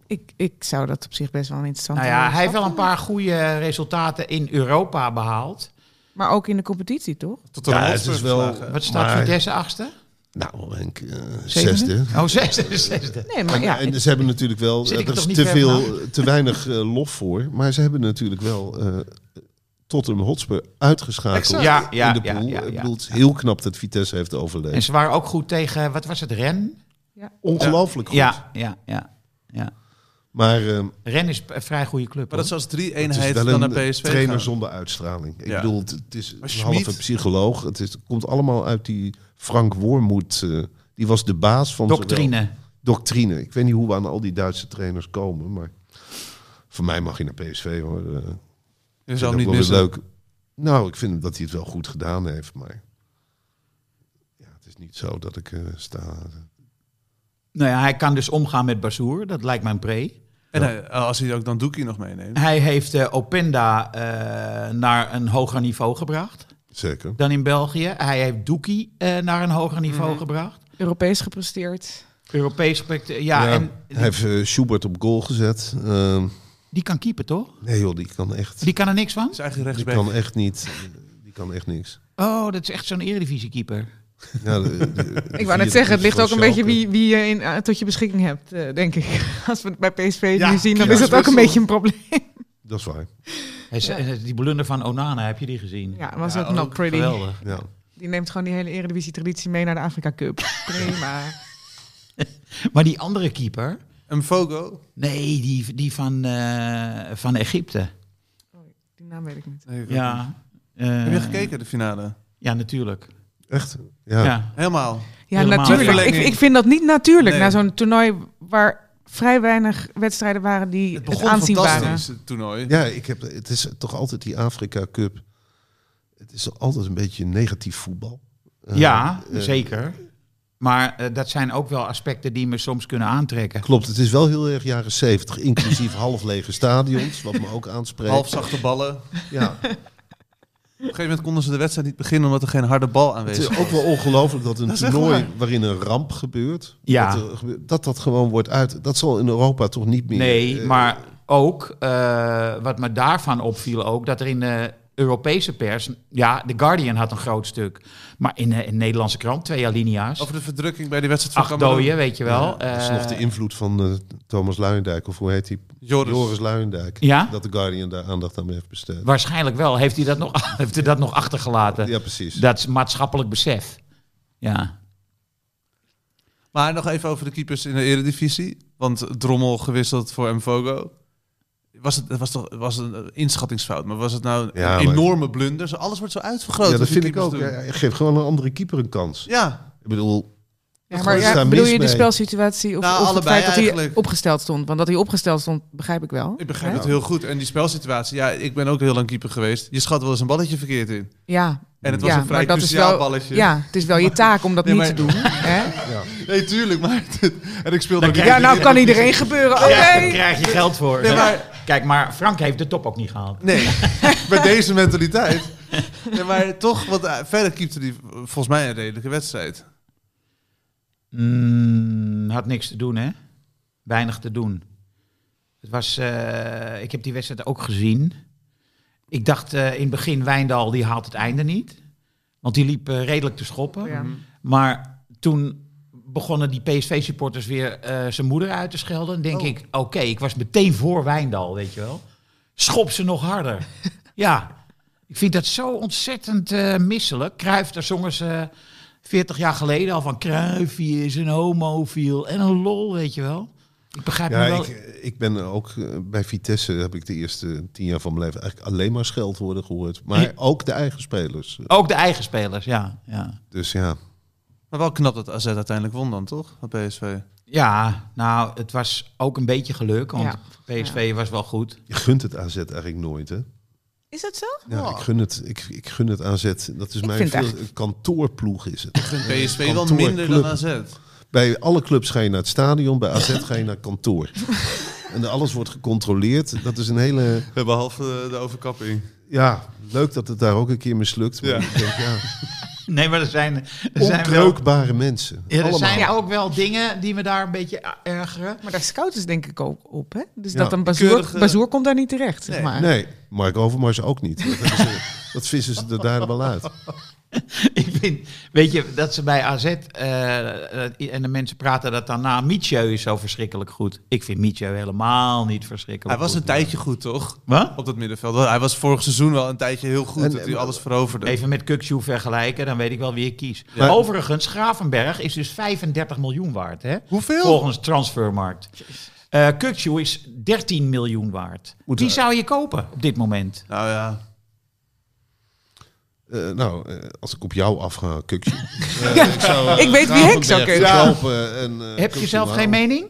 [SPEAKER 5] ik, ik zou dat op zich best wel een interessant
[SPEAKER 4] Nou ja, hij heeft wel een paar goede resultaten in Europa behaald.
[SPEAKER 5] Maar ook in de competitie, toch?
[SPEAKER 2] Tot een
[SPEAKER 1] Ja, het
[SPEAKER 2] Hotspur
[SPEAKER 1] is wel-
[SPEAKER 2] verslagen.
[SPEAKER 4] Wat staat
[SPEAKER 1] Maar-
[SPEAKER 4] Vitesse achtste?
[SPEAKER 1] Nou, Henk, eh,
[SPEAKER 4] Zevende?
[SPEAKER 1] zesde.
[SPEAKER 4] Oh, zesde, zesde.
[SPEAKER 5] Nee, maar
[SPEAKER 1] En-
[SPEAKER 5] ja,
[SPEAKER 1] en ze hebben natuurlijk wel, eh,
[SPEAKER 4] Zit ik
[SPEAKER 1] er
[SPEAKER 4] toch
[SPEAKER 1] is
[SPEAKER 4] niet
[SPEAKER 1] te,
[SPEAKER 4] ver
[SPEAKER 1] veel, te weinig eh, lof voor, maar ze hebben natuurlijk wel eh Tottenham Hotspur uitgeschakeld
[SPEAKER 4] Exact. Ja, ja,
[SPEAKER 1] in de
[SPEAKER 4] ja,
[SPEAKER 1] pool.
[SPEAKER 4] ja, eh, ja.
[SPEAKER 1] Ik bedoel, het is heel knap dat Vitesse heeft overleefd.
[SPEAKER 4] En ze waren ook goed tegen, wat was het, Ren?
[SPEAKER 1] Ongelooflijk goed.
[SPEAKER 4] Ja, ja, ja, ja.
[SPEAKER 1] Maar eh,
[SPEAKER 4] Ren is een vrij goede club.
[SPEAKER 2] Maar dat is als drie
[SPEAKER 1] het is
[SPEAKER 2] eenheid
[SPEAKER 1] wel
[SPEAKER 2] dan naar
[SPEAKER 1] een
[SPEAKER 2] PSV
[SPEAKER 1] trainer
[SPEAKER 2] gaan.
[SPEAKER 1] zonder uitstraling. Ik
[SPEAKER 2] Ja.
[SPEAKER 1] bedoel, het, het is
[SPEAKER 2] Maar
[SPEAKER 1] een halve
[SPEAKER 2] Schmid-
[SPEAKER 1] psycholoog. Het, is, het komt allemaal uit die Frank Wormoed. eh, die was de baas van
[SPEAKER 4] hoor.
[SPEAKER 1] zowel-
[SPEAKER 4] Doctrine.
[SPEAKER 1] doctrine. Ik weet niet hoe we aan al die Duitse trainers komen, maar voor mij mag je naar PSV hoor. Eh,
[SPEAKER 2] Je
[SPEAKER 1] vind
[SPEAKER 2] zou hem
[SPEAKER 1] ik
[SPEAKER 2] niet
[SPEAKER 1] ook wel
[SPEAKER 2] missen.
[SPEAKER 1] weer leuk. Nou, ik vind dat hij het wel goed gedaan heeft, maar ja, het is niet zo dat ik eh, sta.
[SPEAKER 4] Nou ja, hij kan dus omgaan met Bazoer. Dat lijkt mij een pre.
[SPEAKER 2] En hij- als hij ook dan Doekie nog meeneemt.
[SPEAKER 4] Hij heeft eh, Openda eh, naar een hoger niveau gebracht
[SPEAKER 1] Zeker.
[SPEAKER 4] dan in België. Hij heeft Doekie eh, naar een hoger niveau gebracht.
[SPEAKER 5] Europees gepresteerd.
[SPEAKER 4] Europees spect- ja,
[SPEAKER 1] Ja,
[SPEAKER 4] en
[SPEAKER 1] Hij heeft eh, Schubert op goal gezet. Ehm,
[SPEAKER 4] die kan keeper toch?
[SPEAKER 1] nee joh, die kan echt,
[SPEAKER 4] Die kan er niks van?
[SPEAKER 2] Is eigenlijk
[SPEAKER 1] die
[SPEAKER 2] rechtsback.
[SPEAKER 1] kan echt niet. Die kan echt niks.
[SPEAKER 4] Oh, dat is echt zo'n eredivisie keeper.
[SPEAKER 1] Ja, de- de- de
[SPEAKER 5] Ik wou net
[SPEAKER 1] vierde
[SPEAKER 5] zeggen, het
[SPEAKER 1] is
[SPEAKER 5] ligt
[SPEAKER 1] van
[SPEAKER 5] ook een beetje
[SPEAKER 1] Schalke.
[SPEAKER 5] wie, wie je in, eh, tot je beschikking hebt, eh, denk ik. Als we het bij PSV
[SPEAKER 4] Ja,
[SPEAKER 5] nu zien, dan
[SPEAKER 1] ja,
[SPEAKER 5] is dat ook een
[SPEAKER 2] wissel.
[SPEAKER 5] beetje een probleem.
[SPEAKER 1] Dat is waar.
[SPEAKER 4] Hij is- eh, Die blunder van Onana, heb je die gezien?
[SPEAKER 5] Ja, was
[SPEAKER 2] Ja,
[SPEAKER 5] ook not
[SPEAKER 2] ook
[SPEAKER 5] pretty.
[SPEAKER 4] Geweldig.
[SPEAKER 1] Ja.
[SPEAKER 5] Die neemt gewoon die hele Eredivisie-traditie mee naar de Afrika Cup. Prima.
[SPEAKER 4] Maar die andere keeper,
[SPEAKER 2] Een Fogo?
[SPEAKER 4] nee, die, die van, eh, van Egypte.
[SPEAKER 5] Die naam weet ik niet.
[SPEAKER 2] Nee, ik ook niet.
[SPEAKER 4] Ja. eh,
[SPEAKER 2] Heb je gekeken, de finale?
[SPEAKER 4] Ja, natuurlijk.
[SPEAKER 1] Echt?
[SPEAKER 4] Ja.
[SPEAKER 1] Ja.
[SPEAKER 2] Helemaal.
[SPEAKER 5] Ja,
[SPEAKER 4] Helemaal.
[SPEAKER 5] natuurlijk. Ik,
[SPEAKER 2] Verlenging.
[SPEAKER 5] ik vind dat niet natuurlijk
[SPEAKER 2] Nee.
[SPEAKER 5] na zo'n toernooi waar vrij weinig wedstrijden waren die
[SPEAKER 2] Het
[SPEAKER 5] het,
[SPEAKER 2] begon
[SPEAKER 5] aanzien waren.
[SPEAKER 2] fantastisch, het toernooi.
[SPEAKER 1] Ja, ik heb, het is toch altijd die Afrika Cup. Het is altijd een beetje negatief voetbal. Eh,
[SPEAKER 4] ja,
[SPEAKER 1] eh,
[SPEAKER 4] zeker. Maar eh, dat zijn ook wel aspecten die me soms kunnen aantrekken.
[SPEAKER 1] Klopt, het is wel heel erg jaren zeventig, inclusief half lege stadions, wat me ook aanspreekt.
[SPEAKER 2] Halfzachte ballen.
[SPEAKER 1] Ja,
[SPEAKER 2] Op een gegeven moment konden ze de wedstrijd niet beginnen omdat er geen harde bal
[SPEAKER 1] het is
[SPEAKER 2] aanwezig was.
[SPEAKER 1] ook wel ongelooflijk dat een
[SPEAKER 2] Dat is echt
[SPEAKER 1] toernooi
[SPEAKER 2] waar.
[SPEAKER 1] waarin een ramp gebeurt,
[SPEAKER 4] Ja.
[SPEAKER 1] dat, er gebeurt- dat dat gewoon wordt uit. Dat zal in Europa toch niet meer.
[SPEAKER 4] Nee,
[SPEAKER 1] eh,
[SPEAKER 4] maar ook eh, wat me daarvan opviel ook, dat er in de Europese pers, ja, The Guardian had een groot stuk, maar in de Nederlandse krant twee alinea's,
[SPEAKER 2] Over de verdrukking bij die wedstrijd van
[SPEAKER 4] acht
[SPEAKER 2] Cameroen.
[SPEAKER 4] dooien, weet je wel.
[SPEAKER 1] Dat is
[SPEAKER 4] Eh,
[SPEAKER 1] dus nog de invloed van eh, Thomas Luijendijk, of hoe heet hij?
[SPEAKER 2] Joris.
[SPEAKER 1] Joris Luijendijk.
[SPEAKER 4] Ja?
[SPEAKER 1] Dat de Guardian daar aandacht aan heeft besteed.
[SPEAKER 4] waarschijnlijk wel. Heeft hij dat nog, heeft hij dat nog achtergelaten?
[SPEAKER 1] Ja, precies.
[SPEAKER 4] Dat is maatschappelijk besef. Ja.
[SPEAKER 2] Maar nog even over de keepers in de eredivisie. Want Drommel gewisseld voor Mvogo. Was het was toch was een inschattingsfout, maar was het nou een
[SPEAKER 1] Ja, maar-
[SPEAKER 2] enorme blunder? Zo, alles wordt zo uitvergroot.
[SPEAKER 1] ja,
[SPEAKER 2] wat
[SPEAKER 1] dat
[SPEAKER 2] die
[SPEAKER 1] vind ik
[SPEAKER 2] keepers
[SPEAKER 1] ook.
[SPEAKER 2] doen.
[SPEAKER 1] Ja, geef gewoon een andere keeper een kans.
[SPEAKER 2] Ja,
[SPEAKER 1] Ik bedoel,
[SPEAKER 5] Ja,
[SPEAKER 1] Gewoon
[SPEAKER 5] maar ja,
[SPEAKER 1] staan
[SPEAKER 5] bedoel
[SPEAKER 1] mis
[SPEAKER 5] je de
[SPEAKER 1] mee.
[SPEAKER 5] spelsituatie of,
[SPEAKER 2] Nou,
[SPEAKER 5] of het
[SPEAKER 2] allebei
[SPEAKER 5] feit dat hij
[SPEAKER 2] eigenlijk.
[SPEAKER 5] opgesteld stond? Want dat hij opgesteld stond, begrijp ik wel.
[SPEAKER 2] ik begrijp
[SPEAKER 5] Hè?
[SPEAKER 2] het heel goed. En die spelsituatie, ja, ik ben ook heel lang keeper geweest. Je schat wel eens een balletje verkeerd in.
[SPEAKER 5] Ja,
[SPEAKER 2] En het was
[SPEAKER 5] ja,
[SPEAKER 2] een vrij
[SPEAKER 5] maar dat is
[SPEAKER 2] cruciaal
[SPEAKER 5] wel,
[SPEAKER 2] balletje.
[SPEAKER 5] Ja, het is wel je taak om dat
[SPEAKER 2] Nee,
[SPEAKER 5] niet
[SPEAKER 2] maar-
[SPEAKER 5] te doen. Hè?
[SPEAKER 1] ja.
[SPEAKER 2] Nee, tuurlijk, maar en ik speelde ook
[SPEAKER 5] Ja, nou kan iedereen gebeuren. Oké.
[SPEAKER 4] Daar krijg je geld voor.
[SPEAKER 2] Nee, maar-
[SPEAKER 4] Kijk, maar Frank heeft de top ook niet gehaald.
[SPEAKER 2] Nee, met deze mentaliteit. Nee, maar toch, want eh, verder keepte hij eh, volgens mij een redelijke wedstrijd.
[SPEAKER 4] Mm, had niks te doen, hè? Weinig te doen. Het was, eh, ik heb die wedstrijd ook gezien. Ik dacht eh, in het begin, Wijndal die haalt het einde niet. Want die liep eh, redelijk te schoppen.
[SPEAKER 5] Ja.
[SPEAKER 4] Maar toen begonnen die PSV-supporters weer eh, zijn moeder uit te schelden. Dan denk
[SPEAKER 2] Oh.
[SPEAKER 4] ik, oké, ik was meteen voor Wijndal, weet je wel. Schop ze nog harder. ja, ik vind dat zo ontzettend eh, misselijk. Cruijff, daar zongen ze 40 jaar geleden al van... Cruijff die is een homofiel en een lol, weet je wel. Ik begrijp
[SPEAKER 1] Ja,
[SPEAKER 4] nu wel...
[SPEAKER 1] ik, ik ben ook eh, bij Vitesse heb ik de eerste tien jaar van mijn leven eigenlijk alleen maar scheldwoorden gehoord. Maar ook de eigen spelers.
[SPEAKER 4] Ook de eigen spelers, ja. Ja,
[SPEAKER 1] Dus ja,
[SPEAKER 2] Maar wel knap dat AZ uiteindelijk won dan, toch? Van PSV.
[SPEAKER 4] ja nou, het was ook een beetje geluk, want
[SPEAKER 5] Ja.
[SPEAKER 4] PSV was wel goed.
[SPEAKER 1] je gunt het AZ eigenlijk nooit, hè?
[SPEAKER 5] Is dat zo?
[SPEAKER 1] Ja, ik, gun het, ik, ik gun het AZ. Dat is mijn
[SPEAKER 5] vind
[SPEAKER 1] veel-
[SPEAKER 5] echt-
[SPEAKER 1] een kantoorploeg is het.
[SPEAKER 2] Vindt PSV wel
[SPEAKER 1] kantoor,
[SPEAKER 2] minder
[SPEAKER 1] club.
[SPEAKER 2] dan AZ.
[SPEAKER 1] Bij alle clubs ga je naar het stadion, bij AZ ga je naar kantoor. En alles wordt gecontroleerd. Dat is een hele...
[SPEAKER 2] Behalve de overkapping.
[SPEAKER 1] Ja, leuk dat het daar ook een keer mislukt. Maar
[SPEAKER 2] Ja.
[SPEAKER 1] ik denk, ja,
[SPEAKER 4] Nee, maar er zijn, er zijn wel...
[SPEAKER 1] onkreukbare mensen.
[SPEAKER 4] Ja, er
[SPEAKER 1] Allemaal.
[SPEAKER 4] zijn
[SPEAKER 5] Ja.
[SPEAKER 4] ook wel dingen die me daar een beetje a- ergeren.
[SPEAKER 5] Maar daar scouten ze denk ik ook op. Hè? Dus
[SPEAKER 1] Ja,
[SPEAKER 5] dat een bazoer,
[SPEAKER 2] keurige-
[SPEAKER 5] bazoer komt daar niet terecht. Zeg maar.
[SPEAKER 1] Nee, Mark Overmars ook niet. Dat, hebben ze- dat vissen ze er daar wel uit.
[SPEAKER 4] Ik vind, weet je, dat ze bij AZ eh, eh, en de mensen praten dat daarna. Mietje is zo verschrikkelijk goed. Ik vind Mietje helemaal niet
[SPEAKER 2] Hij
[SPEAKER 4] verschrikkelijk
[SPEAKER 2] was een
[SPEAKER 4] goed.
[SPEAKER 2] tijdje goed, toch?
[SPEAKER 4] Wat?
[SPEAKER 2] Op dat middenveld. Hij was vorig seizoen wel een tijdje heel goed.
[SPEAKER 1] En- eh,
[SPEAKER 2] dat hij alles veroverde.
[SPEAKER 4] Even met Kukju vergelijken, dan weet ik wel wie ik kies.
[SPEAKER 1] Ja.
[SPEAKER 4] Overigens, Gravenberg is dus 35 miljoen waard, hè?
[SPEAKER 2] Hoeveel?
[SPEAKER 4] Volgens transfermarkt. Eh Kukju is 13 miljoen waard.
[SPEAKER 1] Moet
[SPEAKER 4] die
[SPEAKER 1] er-
[SPEAKER 4] zou je kopen op dit moment.
[SPEAKER 2] Nou ja.
[SPEAKER 1] Eh, nou, eh, als ik op jou afga, kukje. Eh,
[SPEAKER 5] ik weet wie ik zou kunnen.
[SPEAKER 1] helpen. En, eh,
[SPEAKER 4] Heb je
[SPEAKER 1] Kukje
[SPEAKER 4] zelf
[SPEAKER 1] wel.
[SPEAKER 4] geen mening?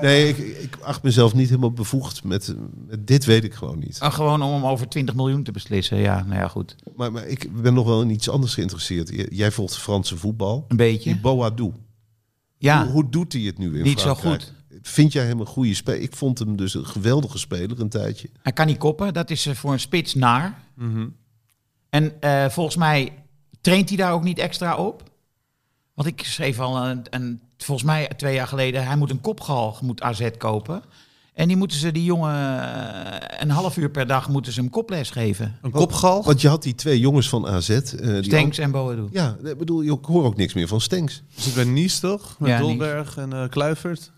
[SPEAKER 1] Nee, ik, ik acht mezelf niet helemaal bevoegd met, met dit weet ik gewoon niet.
[SPEAKER 4] Ah, gewoon om hem over 20 miljoen te beslissen. Ja, nou ja, goed.
[SPEAKER 1] Maar, maar ik ben nog wel in iets anders geïnteresseerd. J- Jij volgt Franse voetbal.
[SPEAKER 4] Een beetje.
[SPEAKER 1] Die Boadou. Hoe,
[SPEAKER 4] Ja,
[SPEAKER 1] hoe doet hij het nu in
[SPEAKER 4] Niet zo
[SPEAKER 1] Frankrijk? Vind jij hem een goede speler? Ik vond hem dus een geweldige speler een tijdje.
[SPEAKER 4] hij kan niet koppen. Dat is eh, voor een spits naar.
[SPEAKER 1] Mhm.
[SPEAKER 4] En eh, volgens mij traint hij daar ook niet extra op. Want ik schreef al, een, een, volgens mij twee jaar geleden, hij moet een kopgalg, moet AZ kopen. En die moeten ze, die jongen, eh, een half uur per dag moeten ze hem koples geven.
[SPEAKER 2] Een kopgalg?
[SPEAKER 1] Want je had die twee jongens van AZ. eh, die
[SPEAKER 4] Stenks en Boadu.
[SPEAKER 1] ook- Ja, ik bedoel, ik hoor ook niks meer van Stenks.
[SPEAKER 2] Zit bij Nies toch? Met
[SPEAKER 4] Ja, Nice.
[SPEAKER 2] Dolberg en eh, Kluivert.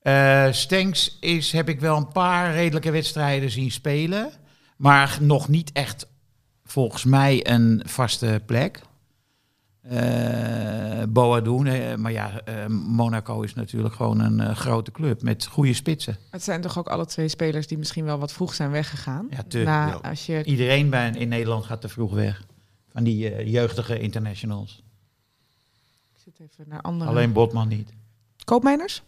[SPEAKER 4] Eh Stenks is, heb ik wel een paar redelijke wedstrijden zien spelen. Maar nog niet echt, volgens mij, een vaste plek. Eh Boadoen, eh, maar ja, eh, Monaco is natuurlijk gewoon een eh, grote club met goede spitsen.
[SPEAKER 5] Het zijn toch ook alle twee spelers die misschien wel wat vroeg zijn weggegaan.
[SPEAKER 4] Ja, te-
[SPEAKER 5] Na,
[SPEAKER 1] ja.
[SPEAKER 5] Als je
[SPEAKER 4] Iedereen bij, in Nederland gaat te vroeg weg. Van die eh, jeugdige internationals.
[SPEAKER 5] ik zit even naar andere.
[SPEAKER 4] Alleen Botman niet.
[SPEAKER 5] Koopmijners,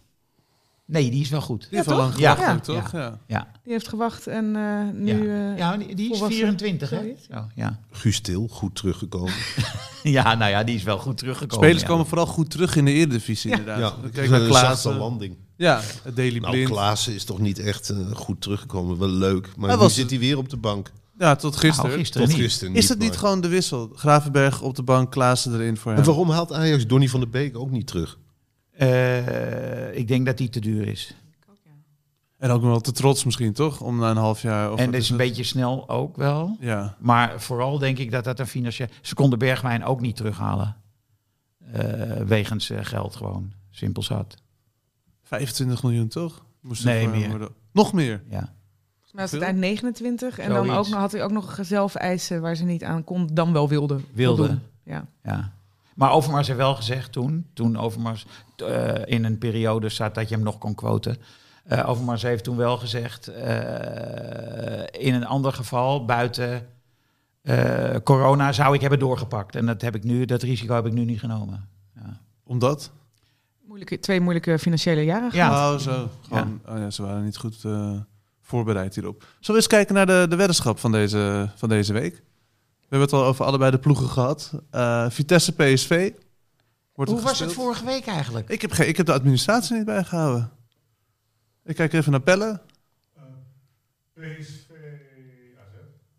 [SPEAKER 4] Nee, die is wel goed.
[SPEAKER 2] Die heeft wel
[SPEAKER 5] toch?
[SPEAKER 2] lang
[SPEAKER 4] Ja.
[SPEAKER 2] gewacht ook, toch? Ja.
[SPEAKER 4] Ja,
[SPEAKER 5] die heeft gewacht en eh, nu... eh,
[SPEAKER 4] ja die, die is
[SPEAKER 5] volwassen.
[SPEAKER 4] 24, hè?
[SPEAKER 5] Zoiets.
[SPEAKER 4] Oh, ja.
[SPEAKER 1] Guus Til, goed teruggekomen.
[SPEAKER 4] ja, nou ja, die is wel goed teruggekomen.
[SPEAKER 2] Spelers
[SPEAKER 4] ja.
[SPEAKER 2] komen vooral goed terug in de Eredivisie
[SPEAKER 1] ja,
[SPEAKER 2] inderdaad. We
[SPEAKER 1] dat
[SPEAKER 2] kijken naar
[SPEAKER 1] een zachte
[SPEAKER 2] Klaassen.
[SPEAKER 1] landing.
[SPEAKER 2] Ja, Daily
[SPEAKER 1] Nou,
[SPEAKER 2] Blind.
[SPEAKER 1] Klaassen is toch niet echt eh, goed teruggekomen. Wel leuk. Maar
[SPEAKER 2] Hij
[SPEAKER 1] nu
[SPEAKER 2] was-
[SPEAKER 1] zit hij weer op de bank.
[SPEAKER 2] Ja, tot gisteren.
[SPEAKER 4] Nou, gisteren
[SPEAKER 1] Tot
[SPEAKER 4] niet.
[SPEAKER 1] gisteren
[SPEAKER 2] Is dat niet
[SPEAKER 1] maar-
[SPEAKER 2] gewoon de wissel? Gravenberg op de bank, Klaassen erin voor hem.
[SPEAKER 1] En waarom haalt Ajax Donny van der Beek ook niet terug?
[SPEAKER 4] Eh, ik denk dat die te duur is.
[SPEAKER 2] En ook nog wel te trots misschien, toch? Om na een half jaar... Of
[SPEAKER 4] en
[SPEAKER 2] wat
[SPEAKER 4] dat is een
[SPEAKER 2] het?
[SPEAKER 4] beetje snel ook wel.
[SPEAKER 2] Ja.
[SPEAKER 4] Maar vooral denk ik dat dat een financieel... Ze konden Bergwijn ook niet terughalen. Eh, wegens eh, geld gewoon. Simpel zat.
[SPEAKER 2] 25 miljoen, toch? Moest er
[SPEAKER 4] Nee,
[SPEAKER 2] voor hem
[SPEAKER 4] meer.
[SPEAKER 2] worden- Nog meer?
[SPEAKER 4] Ja.
[SPEAKER 5] Volgens mij was het eind 29 en dan
[SPEAKER 4] Zoiets.
[SPEAKER 5] ook, nog- had hij ook nog zelf eisen waar ze niet aan kon, dan wel wilde.
[SPEAKER 4] Wilde.
[SPEAKER 5] voldoen. Ja.
[SPEAKER 4] ja. Maar Overmars heeft wel gezegd toen... Toen Overmars eh, in een periode zat dat je hem nog kon quoten... eh, Overmars heeft toen wel gezegd... eh, in een ander geval, buiten eh, corona, zou ik hebben doorgepakt. En dat, heb ik nu, dat risico heb ik nu niet genomen.
[SPEAKER 2] Omdat?
[SPEAKER 5] Moeilijke, twee moeilijke financiële jaren.
[SPEAKER 4] Ja.
[SPEAKER 2] Oh, zo. Gewoon, Oh, ja, ze waren niet goed eh, voorbereid hierop. Zullen we eens kijken naar de, de weddenschap van deze, van deze week? We hebben het al over allebei de ploegen gehad. Eh, Vitesse PSV. Wordt
[SPEAKER 4] Hoe
[SPEAKER 2] er
[SPEAKER 4] was
[SPEAKER 2] gespeeld.
[SPEAKER 4] het vorige week eigenlijk?
[SPEAKER 2] Ik heb, geen- ik heb de administratie niet bijgehouden. Ik kijk even naar Pelle.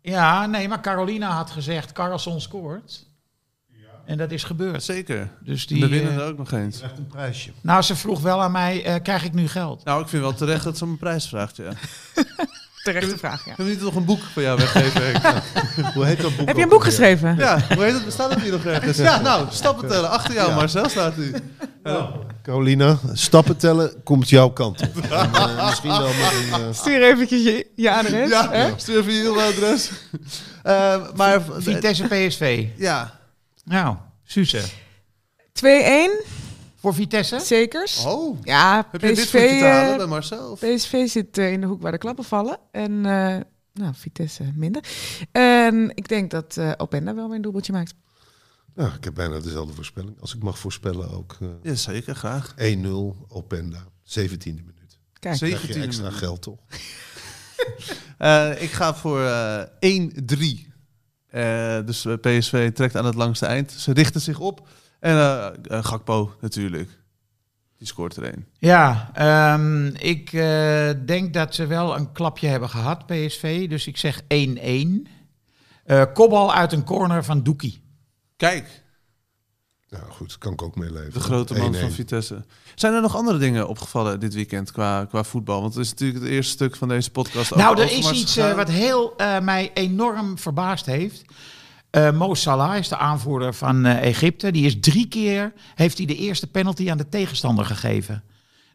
[SPEAKER 4] Ja, nee, maar Carolina had gezegd, Carlson scoort. En dat is gebeurd.
[SPEAKER 2] Zeker.
[SPEAKER 4] Dus
[SPEAKER 2] de
[SPEAKER 4] die,
[SPEAKER 2] winnen
[SPEAKER 4] eh,
[SPEAKER 2] ook nog eens.
[SPEAKER 1] Echt een prijsje.
[SPEAKER 4] nou, ze vroeg wel aan mij, eh, krijg ik nu geld?
[SPEAKER 2] Nou, ik vind wel terecht dat ze om een prijs vraagt, ja.
[SPEAKER 5] Terechte vraag, ja.
[SPEAKER 2] Kunnen we niet nog een boek voor jou weggeven? Henk?
[SPEAKER 1] Hoe heet dat boek?
[SPEAKER 5] Heb je een
[SPEAKER 1] ook
[SPEAKER 5] boek
[SPEAKER 1] alweer?
[SPEAKER 5] geschreven?
[SPEAKER 2] ja, hoe heet het? Bestaat het hier nog ergens? Ja, nou, stappen tellen. Achter jou, Marcel, staat u.
[SPEAKER 1] Carolina, stappen tellen komt jouw kant op. En, eh, misschien wel met een... eh,
[SPEAKER 5] Stuur eventjes je, je adres.
[SPEAKER 2] Ja,
[SPEAKER 5] hè?
[SPEAKER 2] stuur even je e-mailadres. Eh, maar
[SPEAKER 4] Vitesse PSV.
[SPEAKER 2] ja,
[SPEAKER 4] Nou, Suze.
[SPEAKER 5] 2-1,
[SPEAKER 4] Voor Vitesse?
[SPEAKER 5] zekers.
[SPEAKER 2] oh,
[SPEAKER 5] Ja,
[SPEAKER 2] heb je dit
[SPEAKER 5] PSV,
[SPEAKER 2] voor je te halen
[SPEAKER 5] eh,
[SPEAKER 2] bij Marcel? Of-
[SPEAKER 5] PSV zit eh, in de hoek waar de klappen vallen. En eh, nou, Vitesse minder. En ik denk dat eh, Openda wel weer een doelbootje maakt.
[SPEAKER 1] nou, ik heb bijna dezelfde voorspelling. Als ik mag voorspellen ook. eh,
[SPEAKER 2] Ja, zeker, graag.
[SPEAKER 1] 1-0 Openda, 17e minuut.
[SPEAKER 5] Kijk,
[SPEAKER 1] Krijg je
[SPEAKER 2] 17
[SPEAKER 1] extra
[SPEAKER 2] minuten.
[SPEAKER 1] geld toch?
[SPEAKER 2] Eh, ik ga voor eh 1-3. Eh, dus eh, PSV trekt aan het langste eind. Ze richten zich op. En eh, eh, Gakpo natuurlijk. Die scoort er één.
[SPEAKER 4] Ja, ehm, ik eh, denk dat ze wel een klapje hebben gehad, PSV. Dus ik zeg 1-1. Eh kopbal uit een corner van Doekie.
[SPEAKER 2] Kijk,
[SPEAKER 1] Nou goed, kan ik ook meeleven.
[SPEAKER 2] de grote man
[SPEAKER 1] 1-1.
[SPEAKER 2] van Vitesse. Zijn er nog andere dingen opgevallen dit weekend qua, qua voetbal? Want het is natuurlijk het eerste stuk van deze podcast. over
[SPEAKER 4] Nou, er is
[SPEAKER 2] Overmars
[SPEAKER 4] iets eh,
[SPEAKER 2] gegaan.
[SPEAKER 4] wat heel, eh, mij enorm verbaasd heeft. Eh, Mo Salah is de aanvoerder van eh, Egypte. Die is drie keer, heeft hij de eerste penalty aan de tegenstander gegeven.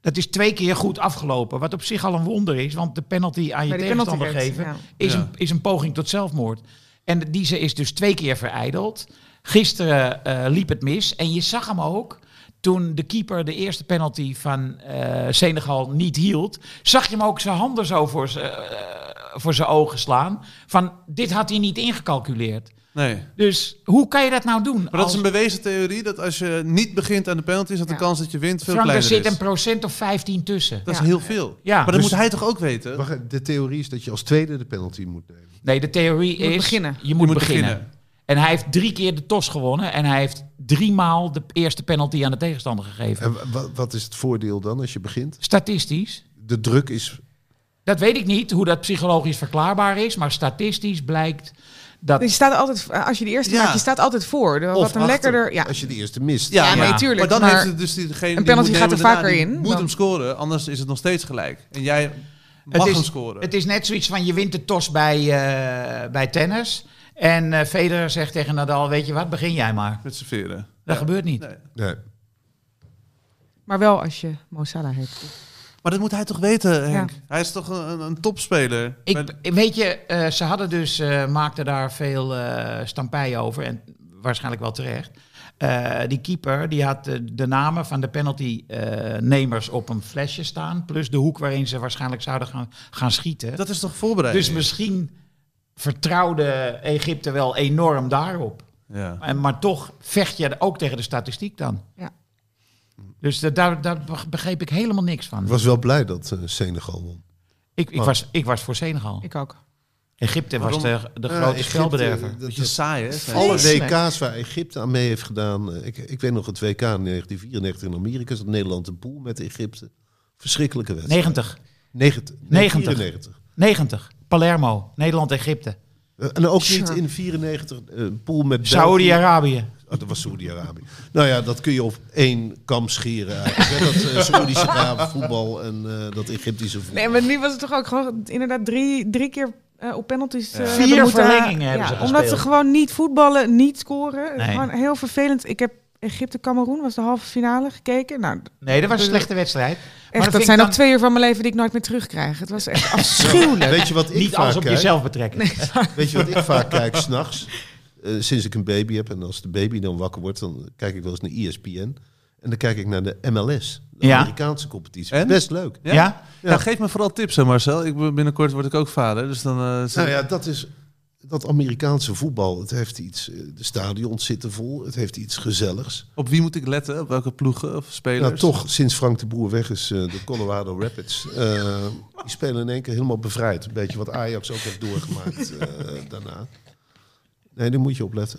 [SPEAKER 4] Dat is twee keer goed afgelopen. Wat op zich al een wonder is, want de penalty aan je
[SPEAKER 5] bij die penalty
[SPEAKER 4] tegenstander geven
[SPEAKER 5] ja.
[SPEAKER 4] is,
[SPEAKER 2] Ja.
[SPEAKER 4] een, is een poging tot zelfmoord. En die ze is dus twee keer verijdeld. Gisteren eh, liep het mis. En je zag hem ook. Toen de keeper de eerste penalty van eh, Senegal niet hield, zag je hem ook zijn handen zo voor zijn eh, voor zijn ogen slaan. Van dit had hij niet ingecalculeerd.
[SPEAKER 2] Nee.
[SPEAKER 4] Dus hoe kan je dat nou doen?
[SPEAKER 2] Maar dat is
[SPEAKER 4] als-
[SPEAKER 2] een bewezen theorie dat als je niet begint aan de penalties, dat de
[SPEAKER 5] Ja.
[SPEAKER 2] kans dat je wint veel
[SPEAKER 4] Frank, er
[SPEAKER 2] kleiner
[SPEAKER 4] zit
[SPEAKER 2] is.
[SPEAKER 4] een procent of 15 tussen.
[SPEAKER 2] Dat is
[SPEAKER 5] Ja.
[SPEAKER 2] heel veel.
[SPEAKER 4] Ja,
[SPEAKER 2] maar dat
[SPEAKER 4] dus-
[SPEAKER 2] moet hij toch ook weten?
[SPEAKER 1] Wacht, de theorie is dat je als tweede de penalty moet nemen.
[SPEAKER 4] Nee, de theorie
[SPEAKER 5] Je moet
[SPEAKER 4] is...
[SPEAKER 5] beginnen.
[SPEAKER 4] Je moet, beginnen. En hij heeft drie keer de tos gewonnen. En hij heeft driemaal de eerste penalty aan de tegenstander gegeven.
[SPEAKER 1] En wa- wa- wat is het voordeel dan als je begint?
[SPEAKER 4] Statistisch.
[SPEAKER 1] De druk is.
[SPEAKER 4] Dat weet ik niet, hoe dat psychologisch verklaarbaar is. Maar statistisch blijkt dat...
[SPEAKER 5] Dus je staat altijd, als je de eerste
[SPEAKER 2] Ja.
[SPEAKER 5] maakt, je staat altijd voor. De- Wat een
[SPEAKER 2] achter,
[SPEAKER 5] lekkerder. Ja,
[SPEAKER 1] Als je de eerste mist.
[SPEAKER 2] Ja,
[SPEAKER 5] ja,
[SPEAKER 2] maar,
[SPEAKER 5] nee,
[SPEAKER 4] ja.
[SPEAKER 5] tuurlijk.
[SPEAKER 2] maar dan
[SPEAKER 5] maar-
[SPEAKER 2] heeft het dus diegene
[SPEAKER 5] Een
[SPEAKER 2] die
[SPEAKER 5] penalty
[SPEAKER 2] moet
[SPEAKER 5] gaat er
[SPEAKER 2] nemen daarna,
[SPEAKER 5] vaker
[SPEAKER 2] die
[SPEAKER 5] in
[SPEAKER 2] Moet
[SPEAKER 5] dan-
[SPEAKER 2] hem scoren, anders is het nog steeds gelijk. En jij mag
[SPEAKER 4] het is,
[SPEAKER 2] hem scoren.
[SPEAKER 4] Het is net zoiets van, je wint de tos bij, eh, bij tennis. En eh, Federer zegt tegen Nadal, weet je wat, begin jij maar.
[SPEAKER 2] Met z'n veren.
[SPEAKER 4] Dat gebeurt niet.
[SPEAKER 2] Nee.
[SPEAKER 1] Nee.
[SPEAKER 5] maar wel als je Mo Salah hebt.
[SPEAKER 2] Maar dat moet hij toch weten, Henk?
[SPEAKER 5] Ja.
[SPEAKER 2] Hij is toch een, een- een topspeler? Maar-
[SPEAKER 4] Ik, weet je, eh, ze hadden dus, eh, maakten daar veel eh stampij over. En waarschijnlijk wel terecht. Eh, die keeper die had eh, de namen van de penaltynemers op een flesje staan. Plus de hoek waarin ze waarschijnlijk zouden gaan, gaan schieten.
[SPEAKER 2] dat is toch voorbereid?
[SPEAKER 4] dus misschien vertrouwde Egypte wel enorm daarop.
[SPEAKER 2] ja.
[SPEAKER 4] En, maar toch vecht je ook tegen de statistiek dan.
[SPEAKER 5] Ja.
[SPEAKER 4] Dus da- daar, daar begreep ik helemaal niks
[SPEAKER 1] Ik
[SPEAKER 4] van.
[SPEAKER 1] was wel blij dat eh, Senegal won.
[SPEAKER 4] Ik, ik,
[SPEAKER 1] Maar-
[SPEAKER 4] was, ik was voor Senegal.
[SPEAKER 5] Ik ook.
[SPEAKER 4] Egypte was
[SPEAKER 2] Waarom?
[SPEAKER 4] de, de
[SPEAKER 1] Ja,
[SPEAKER 4] grote
[SPEAKER 1] Egypte,
[SPEAKER 4] spelbederver.
[SPEAKER 1] eh, dat-
[SPEAKER 2] Beetje saai, hè?
[SPEAKER 1] Alle
[SPEAKER 5] Vreselijk.
[SPEAKER 1] WK's waar Egypte aan mee heeft gedaan. eh, Ik, ik weet nog het WK in 1994 in Amerika. Zat Nederland een pool met Egypte. Verschrikkelijke wedstrijd.
[SPEAKER 4] 90.
[SPEAKER 1] 90.
[SPEAKER 4] 90.
[SPEAKER 1] 94.
[SPEAKER 4] 90. Palermo, Nederland-Egypte.
[SPEAKER 1] Eh, En ook
[SPEAKER 5] Sure.
[SPEAKER 1] niet in 94 een pool met België.
[SPEAKER 4] Saudi-Arabië.
[SPEAKER 1] Oh, dat was Saoedi-Arabië. nou ja, dat kun je op één kam scheren. eigenlijk, hè. Dat eh, Saoedische raam, voetbal en eh, dat Egyptische voetbal.
[SPEAKER 5] Nee, maar nu was het toch ook gewoon inderdaad drie, drie keer eh, op penalties. eh,
[SPEAKER 2] Ja.
[SPEAKER 5] hebben
[SPEAKER 4] Vier
[SPEAKER 5] moeten-
[SPEAKER 4] verlengingen hebben ze
[SPEAKER 5] Omdat ze
[SPEAKER 4] gespeeld.
[SPEAKER 5] gewoon niet voetballen, niet scoren.
[SPEAKER 4] Nee.
[SPEAKER 5] Gewoon heel vervelend. Ik heb Egypte-Cameroen, was de halve finale gekeken. Nou,
[SPEAKER 4] Nee, dat was een slechte wedstrijd.
[SPEAKER 5] echt,
[SPEAKER 4] vind
[SPEAKER 5] dat
[SPEAKER 4] ik
[SPEAKER 5] zijn
[SPEAKER 4] dan-
[SPEAKER 5] ook twee uur van mijn leven die ik nooit meer terugkrijg. Het was echt afschuwelijk.
[SPEAKER 1] Weet je wat ik
[SPEAKER 4] Niet
[SPEAKER 1] vaak
[SPEAKER 4] alles op
[SPEAKER 1] kijk?
[SPEAKER 4] jezelf betrekken.
[SPEAKER 1] Weet je wat ik vaak kijk s'nachts? Eh sinds ik een baby heb en als de baby dan wakker wordt, dan kijk ik wel eens naar E ESPN. En dan kijk ik naar de MLS, de
[SPEAKER 4] Ja.
[SPEAKER 1] Amerikaanse competitie.
[SPEAKER 2] En?
[SPEAKER 1] Best leuk.
[SPEAKER 2] Ja?
[SPEAKER 4] Ja?
[SPEAKER 2] Ja, geef me vooral tips, hè, Marcel. Ik, ben- binnenkort word ik ook vader, dus dan... eh,
[SPEAKER 1] Nou ja, dat is dat Amerikaanse voetbal. Het heeft iets, eh, de stadions zitten vol, het heeft iets gezelligs.
[SPEAKER 2] Op wie moet ik letten? Op welke ploegen of spelers?
[SPEAKER 1] Nou, toch, sinds Frank de Boer weg is, eh, de Colorado Rapids, eh, die spelen in één keer helemaal bevrijd. Een beetje wat Ajax ook heeft doorgemaakt eh, daarna. Nee, daar moet je op letten.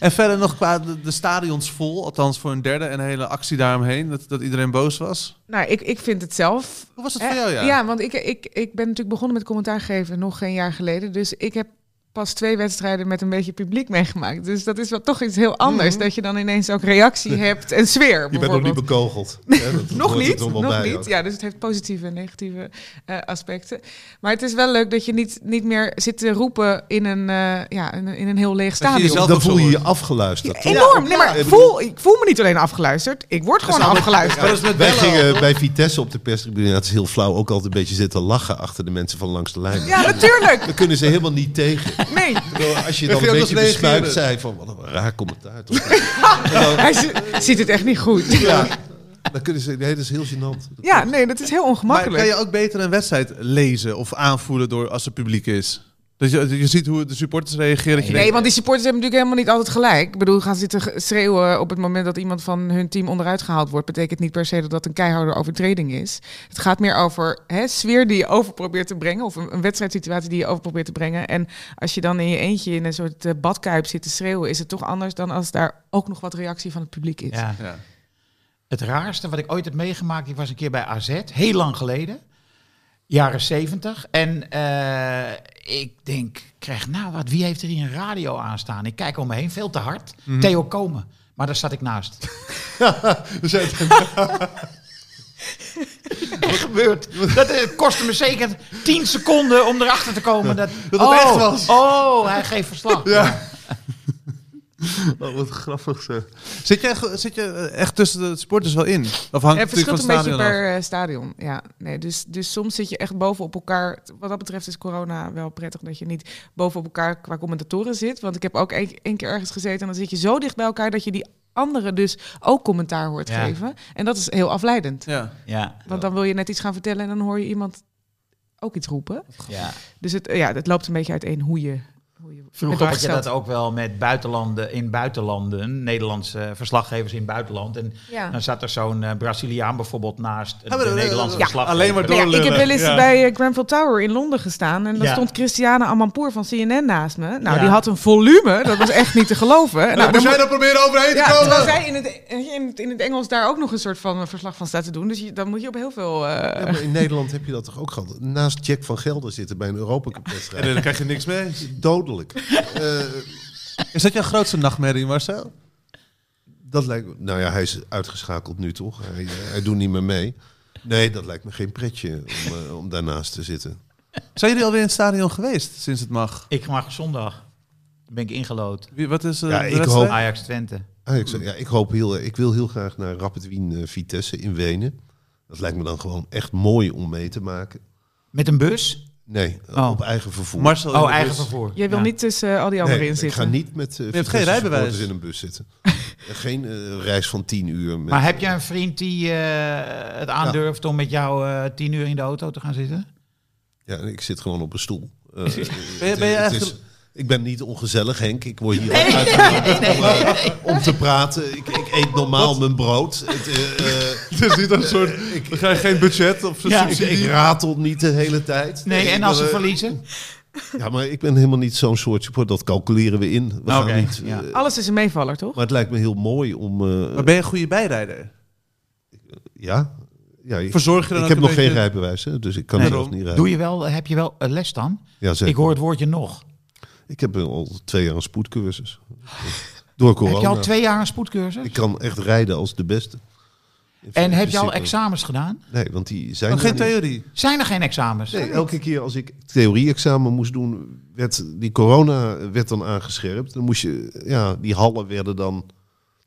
[SPEAKER 2] En verder nog qua de, de stadions vol, althans voor een derde en een hele actie daaromheen, dat, dat iedereen boos was.
[SPEAKER 5] nou, ik, ik vind het zelf
[SPEAKER 2] Hoe was dat
[SPEAKER 5] Eh,
[SPEAKER 2] voor jou, ja?
[SPEAKER 5] want ik, ik, ik ben natuurlijk begonnen met commentaar geven nog geen jaar geleden. Dus ik heb pas twee wedstrijden met een beetje publiek meegemaakt. Dus dat is wel toch iets heel anders.
[SPEAKER 4] Mhm.
[SPEAKER 5] Dat je dan ineens ook reactie hebt en sfeer.
[SPEAKER 1] Je bent nog niet
[SPEAKER 5] bijvoorbeeld.
[SPEAKER 1] bekogeld. hè? Dat
[SPEAKER 5] Nog
[SPEAKER 1] hoort er
[SPEAKER 5] niet,
[SPEAKER 1] toch wel
[SPEAKER 5] nog
[SPEAKER 1] bij
[SPEAKER 5] niet.
[SPEAKER 1] ook.
[SPEAKER 5] Ja, dus het heeft positieve en negatieve eh, aspecten. Maar het is wel leuk dat je niet, niet meer zit te roepen in een, eh, ja, in, een- in een heel leeg stadion.
[SPEAKER 2] jezelf
[SPEAKER 1] Dan
[SPEAKER 2] ook zo
[SPEAKER 1] voel je je
[SPEAKER 2] wordt.
[SPEAKER 1] afgeluisterd. toch?
[SPEAKER 5] Enorm. nee, maar
[SPEAKER 1] Ik
[SPEAKER 5] ik
[SPEAKER 1] bedoel-
[SPEAKER 5] voel, ik voel me niet alleen afgeluisterd. Ik word gewoon afgeluisterd.
[SPEAKER 2] Maar dat is met
[SPEAKER 1] Wij
[SPEAKER 2] bellen al,
[SPEAKER 1] gingen
[SPEAKER 2] toch?
[SPEAKER 1] bij Vitesse op de perstribune, dat is heel flauw, ook altijd een beetje zitten lachen achter de mensen van langs de lijn.
[SPEAKER 5] Ja, natuurlijk.
[SPEAKER 1] Daar kunnen ze helemaal niet tegen.
[SPEAKER 5] Nee.
[SPEAKER 1] Terwijl Als je
[SPEAKER 2] Wij
[SPEAKER 1] dan een beetje
[SPEAKER 2] vinden dat reageren.
[SPEAKER 1] bespuikt zei van wat een raar commentaar. Toch?
[SPEAKER 5] Hij zi- ziet het echt niet goed.
[SPEAKER 1] Ja, dan kunnen ze, nee, dat is heel gênant.
[SPEAKER 5] Ja, nee, dat is heel
[SPEAKER 2] Maar
[SPEAKER 5] ongemakkelijk.
[SPEAKER 2] kan je ook beter een wedstrijd lezen of aanvoelen door als er publiek is? Dat je, dat je ziet hoe de supporters reageren. Dat je
[SPEAKER 5] Nee,
[SPEAKER 2] denkt,
[SPEAKER 5] want die supporters hebben natuurlijk helemaal niet altijd gelijk. Ik bedoel, gaan zitten ge- schreeuwen op het moment dat iemand van hun team onderuit gehaald wordt. Betekent niet per se dat dat een keiharde overtreding is. Het gaat meer over hè, sfeer die je over probeert te brengen. Of een, een wedstrijdsituatie die je over probeert te brengen. En als je dan in je eentje in een soort eh, badkuip zit te schreeuwen, is het toch anders dan als daar ook nog wat reactie van het publiek is.
[SPEAKER 4] Ja.
[SPEAKER 2] Ja.
[SPEAKER 4] Het raarste wat ik ooit heb meegemaakt, ik was een keer bij AZ, heel lang geleden, jaren 70. En eh, ik denk, krijg nou wat, wie heeft er hier een radio aanstaan? Ik kijk om me heen, veel te hard.
[SPEAKER 2] Mhm.
[SPEAKER 4] Theo Komen, maar daar zat ik naast.
[SPEAKER 1] We zijn
[SPEAKER 4] Echt gebeurd. Dat eh, kostte me zeker 10 seconden om erachter te komen dat,
[SPEAKER 2] Dat het
[SPEAKER 4] oh,
[SPEAKER 2] echt was.
[SPEAKER 4] Oh, hij geeft verslag. Ja.
[SPEAKER 1] oh, wat grappig zeg.
[SPEAKER 2] Zit, jij, ge- zit je eh, echt tussen de supporters wel in? Of hangt het
[SPEAKER 5] Het
[SPEAKER 2] natuurlijk van het
[SPEAKER 5] verschilt een beetje
[SPEAKER 2] stadion af?
[SPEAKER 5] per eh, stadion. Ja, nee, dus, dus soms zit je echt boven op elkaar. Wat dat betreft is corona wel prettig dat je niet boven op elkaar qua commentatoren zit. Want ik heb ook één één keer ergens gezeten en dan zit je zo dicht bij elkaar dat je die anderen dus ook commentaar hoort
[SPEAKER 4] Ja.
[SPEAKER 5] geven. En dat is heel afleidend.
[SPEAKER 2] Ja.
[SPEAKER 4] Ja,
[SPEAKER 5] Want dan wil je net iets gaan vertellen en dan hoor je iemand ook iets roepen.
[SPEAKER 4] ja.
[SPEAKER 5] Dus het, eh, ja, het loopt een beetje uiteen hoe je hoe je
[SPEAKER 4] Vroeger had je
[SPEAKER 5] opgesteld-
[SPEAKER 4] dat ook wel met buitenlanden in buitenlanden, Nederlandse verslaggevers in het buitenland. En
[SPEAKER 5] Ja.
[SPEAKER 4] dan zat er zo'n eh, Braziliaan bijvoorbeeld naast de
[SPEAKER 2] maar dat-
[SPEAKER 4] Nederlandse
[SPEAKER 2] ja,
[SPEAKER 4] verslaggever.
[SPEAKER 2] alleen maar
[SPEAKER 5] Nou ja, ik heb
[SPEAKER 2] doorlullen.
[SPEAKER 5] wel eens
[SPEAKER 2] Ja.
[SPEAKER 5] bij eh, Grenfell Tower in Londen gestaan. En daar
[SPEAKER 4] Ja.
[SPEAKER 5] stond Christiane Amanpour van CNN naast me. Nou,
[SPEAKER 4] Ja.
[SPEAKER 5] die had een volume. Dat was echt niet te geloven. Nou,
[SPEAKER 2] Nou,
[SPEAKER 5] dan
[SPEAKER 2] moet jij daar proberen overheen te
[SPEAKER 5] Ja,
[SPEAKER 2] komen.
[SPEAKER 5] terwijl zij in het, eh, in, het, in het Engels daar ook nog een soort van eh, verslag van staat te doen. Dus je, dan moet je op heel veel... eh,
[SPEAKER 1] Ja, maar in Nederland heb je dat toch ook gehad? Naast Jack van Gelder zitten bij een Europa Cup
[SPEAKER 2] En
[SPEAKER 1] wedstrijd.
[SPEAKER 2] dan krijg je niks mee.
[SPEAKER 1] Dodelijk. Eh,
[SPEAKER 7] Is dat jouw grootste nachtmerrie, Marcel?
[SPEAKER 1] dat lijkt me, nou ja, hij is uitgeschakeld nu toch? Hij, eh, hij doet niet meer mee. Nee, dat lijkt me geen pretje om, eh, om daarnaast te zitten.
[SPEAKER 7] Zijn jullie alweer in het stadion geweest sinds het mag?
[SPEAKER 4] Ik mag zondag. Dan ben ik ingelood.
[SPEAKER 7] Wie, wat is eh,
[SPEAKER 1] Ja,
[SPEAKER 7] de
[SPEAKER 1] ik
[SPEAKER 7] wedstrijd?
[SPEAKER 1] hoop-
[SPEAKER 4] Ajax Twente.
[SPEAKER 1] Ah, ik, zou- ja, ik, hoop heel, eh, ik wil heel graag naar Rapid Wien eh, Vitesse in Wenen. Dat lijkt me dan gewoon echt mooi om mee te maken.
[SPEAKER 4] Met een bus?
[SPEAKER 1] Nee,
[SPEAKER 7] Oh.
[SPEAKER 1] op eigen vervoer.
[SPEAKER 7] Marcel in
[SPEAKER 4] Oh,
[SPEAKER 7] de
[SPEAKER 4] eigen
[SPEAKER 7] bus.
[SPEAKER 4] vervoer.
[SPEAKER 5] jij wil
[SPEAKER 4] Ja.
[SPEAKER 5] niet tussen eh, al die anderen
[SPEAKER 1] Nee,
[SPEAKER 5] in
[SPEAKER 1] ik
[SPEAKER 5] zitten.
[SPEAKER 1] ga niet met uh,
[SPEAKER 7] geen rijbewijs.
[SPEAKER 1] in een bus zitten. geen eh, reis van tien uur. Met,
[SPEAKER 4] Maar heb je een vriend die eh, het aandurft om met jou eh, tien uur in de auto te gaan zitten?
[SPEAKER 1] Ja, ik zit gewoon op een stoel. Eh,
[SPEAKER 7] ben je
[SPEAKER 1] het- het
[SPEAKER 7] eigenlijk-
[SPEAKER 1] is- ik ben niet ongezellig, Henk. Ik word hier ook uitgenodigd om, eh, om te praten. Ik, ik eet normaal mijn brood. Het, eh, eh,
[SPEAKER 2] Het is niet een soort...
[SPEAKER 1] ik,
[SPEAKER 2] Dan krijg je geen budget of zo.
[SPEAKER 4] Ja.
[SPEAKER 1] ik, ik ratel niet de hele tijd.
[SPEAKER 4] Nee, en
[SPEAKER 1] Ik
[SPEAKER 4] als ze
[SPEAKER 1] ben, eh,
[SPEAKER 4] verliezen?
[SPEAKER 1] Ja, maar ik ben helemaal niet zo'n soort support. Dat calculeren we in. We
[SPEAKER 4] Oké,
[SPEAKER 1] gaan niet, eh,
[SPEAKER 4] ja.
[SPEAKER 5] Alles is een meevaller, toch?
[SPEAKER 1] Maar het lijkt me heel mooi om... eh,
[SPEAKER 7] Maar ben je een goede bijrijder?
[SPEAKER 1] ja, ja ik,
[SPEAKER 7] Verzorg je dan
[SPEAKER 1] ik
[SPEAKER 7] ook
[SPEAKER 1] heb
[SPEAKER 7] een
[SPEAKER 1] nog geen
[SPEAKER 7] beetje-
[SPEAKER 1] rijbewijs, hè, dus ik kan
[SPEAKER 7] Nee.
[SPEAKER 1] zelf niet rijden.
[SPEAKER 4] Doe je wel, heb je wel eh, les dan?
[SPEAKER 1] Ja, zeker.
[SPEAKER 4] Ik hoor het woordje nog.
[SPEAKER 1] Ik heb al twee jaar een spoedcursus. Door corona.
[SPEAKER 4] Heb je al twee jaar een spoedcursus?
[SPEAKER 1] Ik kan echt rijden als de beste. In
[SPEAKER 4] en heb je al
[SPEAKER 1] principe.
[SPEAKER 4] examens gedaan?
[SPEAKER 1] Nee, want die zijn
[SPEAKER 7] Oh,
[SPEAKER 1] er
[SPEAKER 7] geen
[SPEAKER 1] niet.
[SPEAKER 7] theorie.
[SPEAKER 4] Zijn er geen examens?
[SPEAKER 1] Nee, elke keer als ik theorie-examen moest doen, werd die corona werd dan aangescherpt. Dan moest je, ja, die hallen werden dan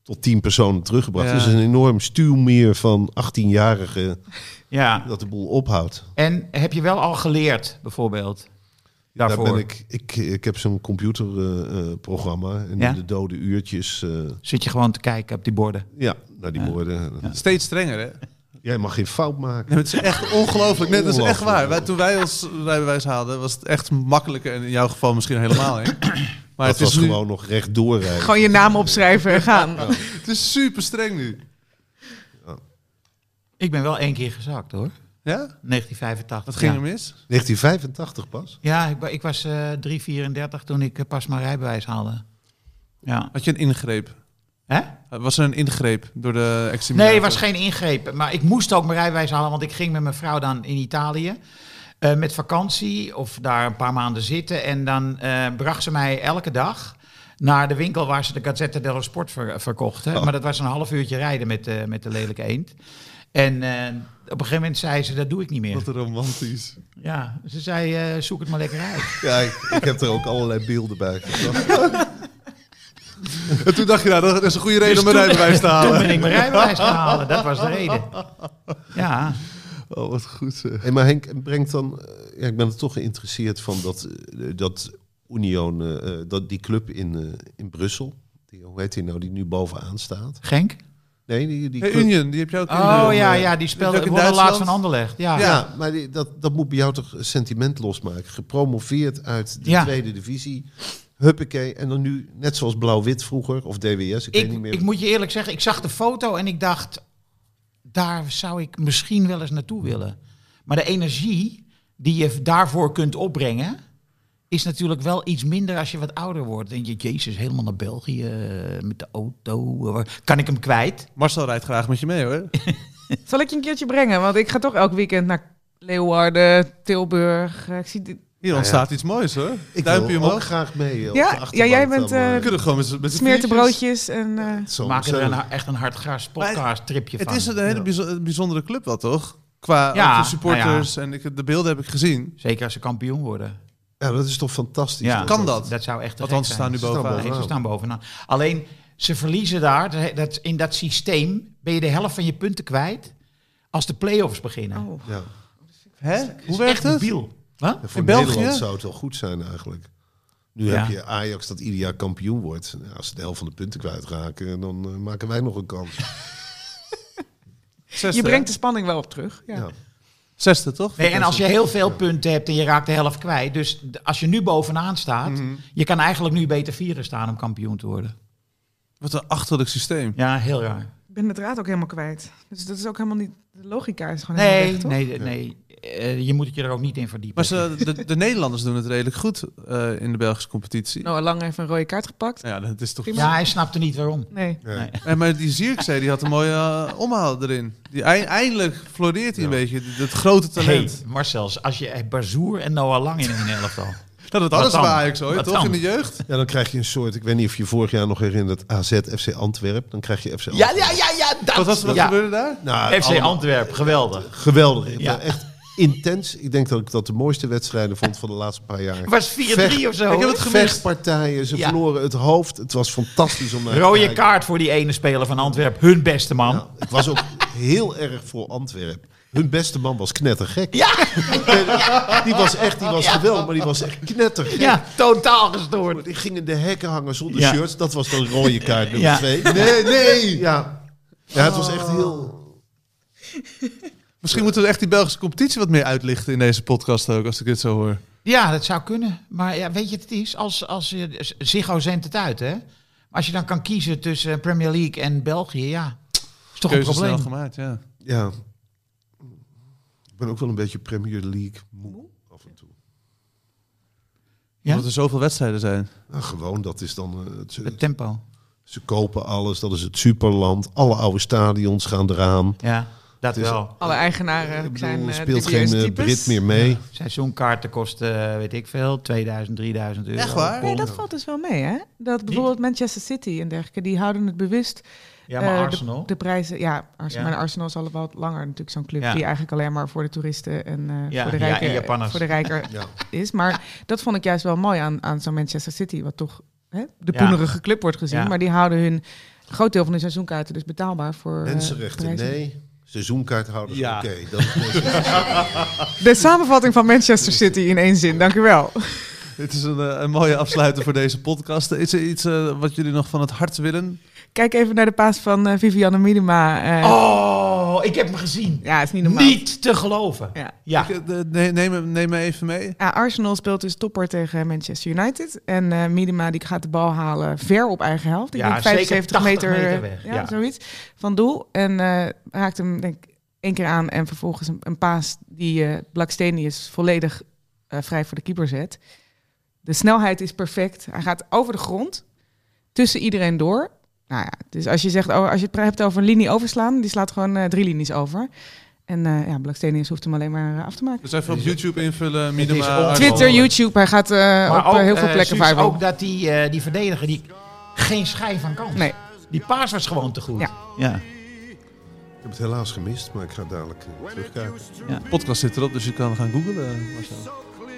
[SPEAKER 1] tot tien personen teruggebracht.
[SPEAKER 7] Ja.
[SPEAKER 1] Dus een enorm stuwmeer van 18-jarigen
[SPEAKER 4] Ja.
[SPEAKER 1] dat de boel ophoudt.
[SPEAKER 4] En heb je wel al geleerd, bijvoorbeeld? Daarvoor.
[SPEAKER 1] Daar ben ik, ik, ik heb zo'n computerprogramma eh, en
[SPEAKER 4] Ja?
[SPEAKER 1] in de dode uurtjes. eh,
[SPEAKER 4] Zit je gewoon te kijken op die borden?
[SPEAKER 1] ja, naar die
[SPEAKER 4] Ja.
[SPEAKER 1] woorden.
[SPEAKER 7] Steeds strenger, hè? Nee,
[SPEAKER 1] Jij mag geen fout maken.
[SPEAKER 7] maar het is echt ongelooflijk. Nee, dat is echt
[SPEAKER 1] Ongelooflijk.
[SPEAKER 7] waar. Wij, toen wij ons rijbewijs haalden, was het echt makkelijker. En in jouw geval misschien helemaal, hè? Maar
[SPEAKER 1] dat
[SPEAKER 7] het is,
[SPEAKER 1] was
[SPEAKER 7] nu,
[SPEAKER 1] gewoon nog recht doorrijden.
[SPEAKER 5] Gewoon je naam opschrijven en gaan.
[SPEAKER 7] het is super streng nu.
[SPEAKER 4] Ik ben wel één keer gezakt, hoor.
[SPEAKER 7] Ja?
[SPEAKER 4] 1985.
[SPEAKER 7] Wat ging
[SPEAKER 4] ja.
[SPEAKER 7] er mis?
[SPEAKER 1] 1985 pas.
[SPEAKER 4] Ja, ik, wa- ik was eh 3,34 toen ik eh, pas mijn rijbewijs haalde. Ja.
[SPEAKER 7] Had je een ingreep?
[SPEAKER 4] Hè?
[SPEAKER 7] Was er een ingreep door de examinator?
[SPEAKER 4] Nee, het was geen ingreep. Maar ik moest ook mijn rijbewijs halen, want ik ging met mijn vrouw dan in Italië. eh, met vakantie of daar een paar maanden zitten. En dan eh, bracht ze mij elke dag naar de winkel waar ze de Gazzetta dello Sport ver- verkochten.
[SPEAKER 7] Oh.
[SPEAKER 4] Maar dat was een half uurtje rijden met, eh, met de lelijke eend. En eh, op een gegeven moment zei ze, dat doe ik niet meer.
[SPEAKER 7] Wat romantisch.
[SPEAKER 4] Ja, ze zei, eh, zoek het maar lekker uit.
[SPEAKER 1] Ja, ik, ik heb er ook allerlei beelden bij.
[SPEAKER 7] En toen dacht je, nou, dat is een goede reden
[SPEAKER 4] Dus
[SPEAKER 7] om een
[SPEAKER 4] toen-
[SPEAKER 7] rijbewijs te
[SPEAKER 4] Toen
[SPEAKER 7] halen.
[SPEAKER 4] ben ik mijn rijbewijs gaan halen, dat was de reden. Ja,
[SPEAKER 7] Oh, wat goed zeg.
[SPEAKER 1] Hey, maar Henk brengt dan. eh, Ja, ik ben er toch geïnteresseerd van dat, eh, dat Union, eh, dat die club in, eh, in Brussel. Die, hoe heet die nou, die nu bovenaan staat?
[SPEAKER 4] Genk?
[SPEAKER 1] Nee, die, die
[SPEAKER 7] Hey,
[SPEAKER 1] club-
[SPEAKER 7] Union, eh, die heb je ook in
[SPEAKER 4] Oh
[SPEAKER 7] de-
[SPEAKER 4] ja, ja die
[SPEAKER 7] Is dat
[SPEAKER 4] speelde
[SPEAKER 7] in
[SPEAKER 4] wonnen laatst van
[SPEAKER 7] Duitsland?
[SPEAKER 4] Anderlecht. Ja.
[SPEAKER 1] Ja, maar die- dat, dat moet bij jou toch een sentiment losmaken. Gepromoveerd uit de
[SPEAKER 4] Ja.
[SPEAKER 1] tweede divisie. Huppakee. En dan nu, net zoals Blauw-Wit vroeger, of DWS, ik, weet niet
[SPEAKER 4] Ik,
[SPEAKER 1] meer.
[SPEAKER 4] ik moet je eerlijk zeggen, ik zag de foto en ik dacht, daar zou ik misschien wel eens naartoe willen. Maar de energie die je daarvoor kunt opbrengen, is natuurlijk wel iets minder als je wat ouder wordt. Denk je, jezus, helemaal naar België eh, met de auto. eh, waar- Kan ik hem kwijt?
[SPEAKER 7] Marcel rijdt graag met je mee, hoor.
[SPEAKER 5] Zal ik je een keertje brengen? Want ik ga toch elk weekend naar Leeuwarden, Tilburg. eh, Ik zie dit-
[SPEAKER 7] Hier ontstaat iets moois, hoor.
[SPEAKER 1] Ik
[SPEAKER 7] Duimpje
[SPEAKER 1] wil ook
[SPEAKER 7] omhoog.
[SPEAKER 1] graag mee. eh, op
[SPEAKER 5] Ja,
[SPEAKER 1] de
[SPEAKER 5] ja,
[SPEAKER 1] achterbank
[SPEAKER 5] jij bent,
[SPEAKER 1] dan, maar-
[SPEAKER 2] eh,
[SPEAKER 7] We kunnen gewoon met, z'n- met z'n
[SPEAKER 5] smeerte
[SPEAKER 7] viertjes.
[SPEAKER 5] broodjes en... eh,
[SPEAKER 1] Zo
[SPEAKER 4] Maak er
[SPEAKER 1] ontzettend.
[SPEAKER 4] een, echt een hardgaas podcast tripje van.
[SPEAKER 7] Het is een hele
[SPEAKER 1] Ja.
[SPEAKER 7] bijzo- bijzondere club, wel, toch? Qua
[SPEAKER 4] Ja,
[SPEAKER 7] ook de supporters en ik, de beelden heb ik gezien.
[SPEAKER 4] Zeker als ze kampioen worden.
[SPEAKER 1] Ja, dat is toch fantastisch.
[SPEAKER 4] Ja.
[SPEAKER 7] Kan dat?
[SPEAKER 4] Dat zou echt te
[SPEAKER 7] Want anders
[SPEAKER 4] gek
[SPEAKER 7] staan
[SPEAKER 4] zijn.
[SPEAKER 7] nu
[SPEAKER 1] Staan
[SPEAKER 7] bovenaan.
[SPEAKER 1] bovenaan.
[SPEAKER 4] Nee, ze staan bovenaan. Alleen ze verliezen daar, dat- dat, in dat systeem, ben je de helft van je punten kwijt als de play-offs beginnen.
[SPEAKER 5] oh.
[SPEAKER 1] Ja.
[SPEAKER 7] Hè? Hoe
[SPEAKER 4] is
[SPEAKER 7] werkt
[SPEAKER 4] echt
[SPEAKER 7] het?
[SPEAKER 4] Debiel. Wat?
[SPEAKER 1] En voor
[SPEAKER 7] In België?
[SPEAKER 1] Nederland zou het wel goed zijn eigenlijk. Nu
[SPEAKER 4] Ja.
[SPEAKER 1] heb je Ajax dat ieder jaar kampioen wordt. Nou, als ze de helft van de punten kwijtraken, dan eh, maken wij nog een kans.
[SPEAKER 5] Je brengt de spanning wel op terug. Ja.
[SPEAKER 1] Ja.
[SPEAKER 2] Zesde, toch?
[SPEAKER 4] Nee, en als je heel veel punten hebt en je raakt de helft kwijt. Dus d- als je nu bovenaan staat, je kan eigenlijk nu beter vieren staan om kampioen te worden.
[SPEAKER 2] Wat een achterlijk systeem.
[SPEAKER 4] Ja, heel raar.
[SPEAKER 5] Ik ben de draad ook helemaal kwijt. Dus dat is ook helemaal niet... De logica is gewoon helemaal
[SPEAKER 4] Nee,
[SPEAKER 5] weg, toch?
[SPEAKER 4] nee, nee. Eh, je moet het je er ook niet in verdiepen.
[SPEAKER 2] Maar ze, de, de Nederlanders doen het redelijk goed eh, in de Belgische competitie.
[SPEAKER 4] Nou,
[SPEAKER 5] Noah Nou, Lang heeft een rode kaart gepakt.
[SPEAKER 2] Nou Ja, dat is toch...
[SPEAKER 5] Prima.
[SPEAKER 4] Ja, hij snapte niet waarom.
[SPEAKER 5] Nee.
[SPEAKER 4] Nee.
[SPEAKER 2] Eh, maar die Zierkzee, die had een mooie eh, omhaal erin. Die ei- eindelijk floreert hij een
[SPEAKER 1] Ja.
[SPEAKER 2] beetje, d- dat grote talent.
[SPEAKER 4] Hey, Marcels, als je eh, Bazoer en Noah Lang in een elftal.
[SPEAKER 2] Dat het alles
[SPEAKER 4] Wat dan?
[SPEAKER 2] bij Ajax ooit,
[SPEAKER 4] Wat
[SPEAKER 2] toch?
[SPEAKER 4] dan?
[SPEAKER 2] In de jeugd.
[SPEAKER 1] Ja, dan krijg je een soort, ik weet niet of je vorig jaar nog herinnert, AZ FC Antwerp. Dan krijg je FC
[SPEAKER 4] Ja,
[SPEAKER 1] Antwerp.
[SPEAKER 4] ja, ja, ja. Dat,
[SPEAKER 2] Wat, was, wat
[SPEAKER 4] ja.
[SPEAKER 2] gebeurde daar?
[SPEAKER 1] Nou,
[SPEAKER 4] FC
[SPEAKER 1] allemaal
[SPEAKER 4] Antwerpen, geweldig.
[SPEAKER 1] geweldig. Ik
[SPEAKER 4] Ja.
[SPEAKER 1] ben Echt intens. Ik denk dat ik dat de mooiste wedstrijden vond van de laatste paar
[SPEAKER 4] Het
[SPEAKER 1] jaar.
[SPEAKER 4] was 4-3 of zo.
[SPEAKER 2] Ik heb het gemist.
[SPEAKER 1] Vechtpartijen, ze
[SPEAKER 4] Ja.
[SPEAKER 1] verloren het hoofd. Het was fantastisch om naar te
[SPEAKER 4] Rode
[SPEAKER 1] kijken.
[SPEAKER 4] kaart voor die ene speler van Antwerpen. Hun beste man.
[SPEAKER 1] Ja, ik was ook heel erg voor Antwerpen. Hun beste man was knettergek.
[SPEAKER 4] Ja.
[SPEAKER 1] Die was echt, die was geweldig, maar die was echt knettergek.
[SPEAKER 4] Ja, totaal gestoord.
[SPEAKER 1] Die ging in de hekken hangen zonder
[SPEAKER 4] Ja.
[SPEAKER 1] shirts. Dat was dan rode kaart nummer
[SPEAKER 4] Ja.
[SPEAKER 1] twee. Nee, nee. Ja. ja, het was echt heel...
[SPEAKER 2] Misschien moeten we echt die Belgische competitie wat meer uitlichten in deze podcast ook, als ik dit zo hoor.
[SPEAKER 4] Ja, dat zou kunnen. Maar ja, weet je wat het is? Als, als je, Ziggo zendt het uit, hè? Als je dan kan kiezen tussen Premier League en België, ja. Is toch
[SPEAKER 2] Keuze
[SPEAKER 4] een
[SPEAKER 2] snel
[SPEAKER 4] probleem.
[SPEAKER 2] gemaakt, ja.
[SPEAKER 1] Ja. Ik ben ook wel een beetje Premier League moe af en toe.
[SPEAKER 4] Ja?
[SPEAKER 2] Omdat er zoveel wedstrijden zijn.
[SPEAKER 1] Nou, gewoon, dat is dan... eh, het-
[SPEAKER 4] Het tempo.
[SPEAKER 1] Ze kopen alles, dat is het superland. Alle oude stadions gaan eraan.
[SPEAKER 4] Ja, dat
[SPEAKER 1] Het is-
[SPEAKER 4] wel.
[SPEAKER 5] Alle eigenaren
[SPEAKER 1] Ik
[SPEAKER 5] zijn
[SPEAKER 1] bedoel, er
[SPEAKER 5] eh,
[SPEAKER 1] speelt geen
[SPEAKER 5] dubieuze
[SPEAKER 1] eh,
[SPEAKER 5] types.
[SPEAKER 1] Brit meer mee.
[SPEAKER 4] Seizoenkaarten kosten, eh, weet ik veel, 2000, 3000 euro.
[SPEAKER 2] Echt waar?
[SPEAKER 5] Nee, dat valt dus wel mee, hè? Dat bijvoorbeeld Manchester City en dergelijke, die houden het bewust.
[SPEAKER 4] Ja, maar
[SPEAKER 5] eh, de-
[SPEAKER 4] Arsenal.
[SPEAKER 5] De, prijzen, ja,
[SPEAKER 4] Ja.
[SPEAKER 5] Arsenal, maar Arsenal is al wat langer natuurlijk zo'n club
[SPEAKER 4] Ja.
[SPEAKER 5] die eigenlijk alleen maar voor de toeristen en eh,
[SPEAKER 4] Ja,
[SPEAKER 5] voor de
[SPEAKER 4] ja, en
[SPEAKER 5] rijken,
[SPEAKER 4] Japanners.
[SPEAKER 5] voor de rijker
[SPEAKER 1] Ja.
[SPEAKER 5] is. Maar dat vond ik juist wel mooi aan, aan zo'n Manchester City, wat toch hè, de
[SPEAKER 4] Ja.
[SPEAKER 5] poenerige club wordt gezien.
[SPEAKER 4] Ja.
[SPEAKER 5] Maar die houden hun een groot deel van hun seizoenkaarten dus betaalbaar voor eh,
[SPEAKER 1] Mensenrechten,
[SPEAKER 5] prijzen.
[SPEAKER 1] nee. Seizoenkaarthouders,
[SPEAKER 2] Ja.
[SPEAKER 1] oké. Dat is-
[SPEAKER 5] De samenvatting van Manchester City in één zin, dank u wel.
[SPEAKER 2] Dit is een, eh, een mooie afsluiter voor deze podcast. Is er iets eh, wat jullie nog van het hart willen?
[SPEAKER 5] Kijk even naar de paas van eh, Vivianne Miedema. eh,
[SPEAKER 4] Oh, ik heb hem gezien.
[SPEAKER 5] Ja, is niet normaal.
[SPEAKER 4] Niet te geloven.
[SPEAKER 5] Ja.
[SPEAKER 4] Ja.
[SPEAKER 2] Ik, eh, de- ne- neem, me- neem me even mee.
[SPEAKER 5] Ja, Arsenal speelt dus topper tegen Manchester United. En eh Miedema die gaat de bal halen ver op eigen helft. Ik
[SPEAKER 4] Ja,
[SPEAKER 5] denk
[SPEAKER 4] zeker
[SPEAKER 5] 75
[SPEAKER 4] 80
[SPEAKER 5] meter,
[SPEAKER 4] meter
[SPEAKER 5] eh,
[SPEAKER 4] weg,
[SPEAKER 5] Ja,
[SPEAKER 4] ja.
[SPEAKER 5] zoiets van doel. En eh, raakt hem denk ik één keer aan. En vervolgens een, een paas die eh Blackstenius volledig eh, vrij voor de keeper zet. De snelheid is perfect. Hij gaat over de grond, tussen iedereen door. Nou ja, dus als je, zegt, oh, als je het hebt over een linie overslaan, die slaat gewoon eh, drie linies over. En eh ja, Blackstenius hoeft hem alleen maar eh, af te maken.
[SPEAKER 2] Dus even op YouTube invullen.
[SPEAKER 4] is
[SPEAKER 2] Miedema,
[SPEAKER 4] on-
[SPEAKER 2] Arnold.
[SPEAKER 5] Twitter, YouTube, hij gaat eh, op eh, heel veel
[SPEAKER 4] eh,
[SPEAKER 5] plekken
[SPEAKER 4] Suus,
[SPEAKER 5] viral.
[SPEAKER 4] ook dat die, eh, die verdediger die geen schijn van kans.
[SPEAKER 5] Nee.
[SPEAKER 4] Die paas was gewoon te goed.
[SPEAKER 5] Ja.
[SPEAKER 4] ja.
[SPEAKER 1] Ik heb het helaas gemist, maar ik ga dadelijk eh, terugkijken.
[SPEAKER 2] Podcast zit erop, dus je kan gaan googlen. Marcel.
[SPEAKER 3] so clear.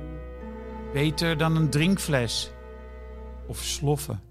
[SPEAKER 4] Beter dan een drinkfles of sloffen.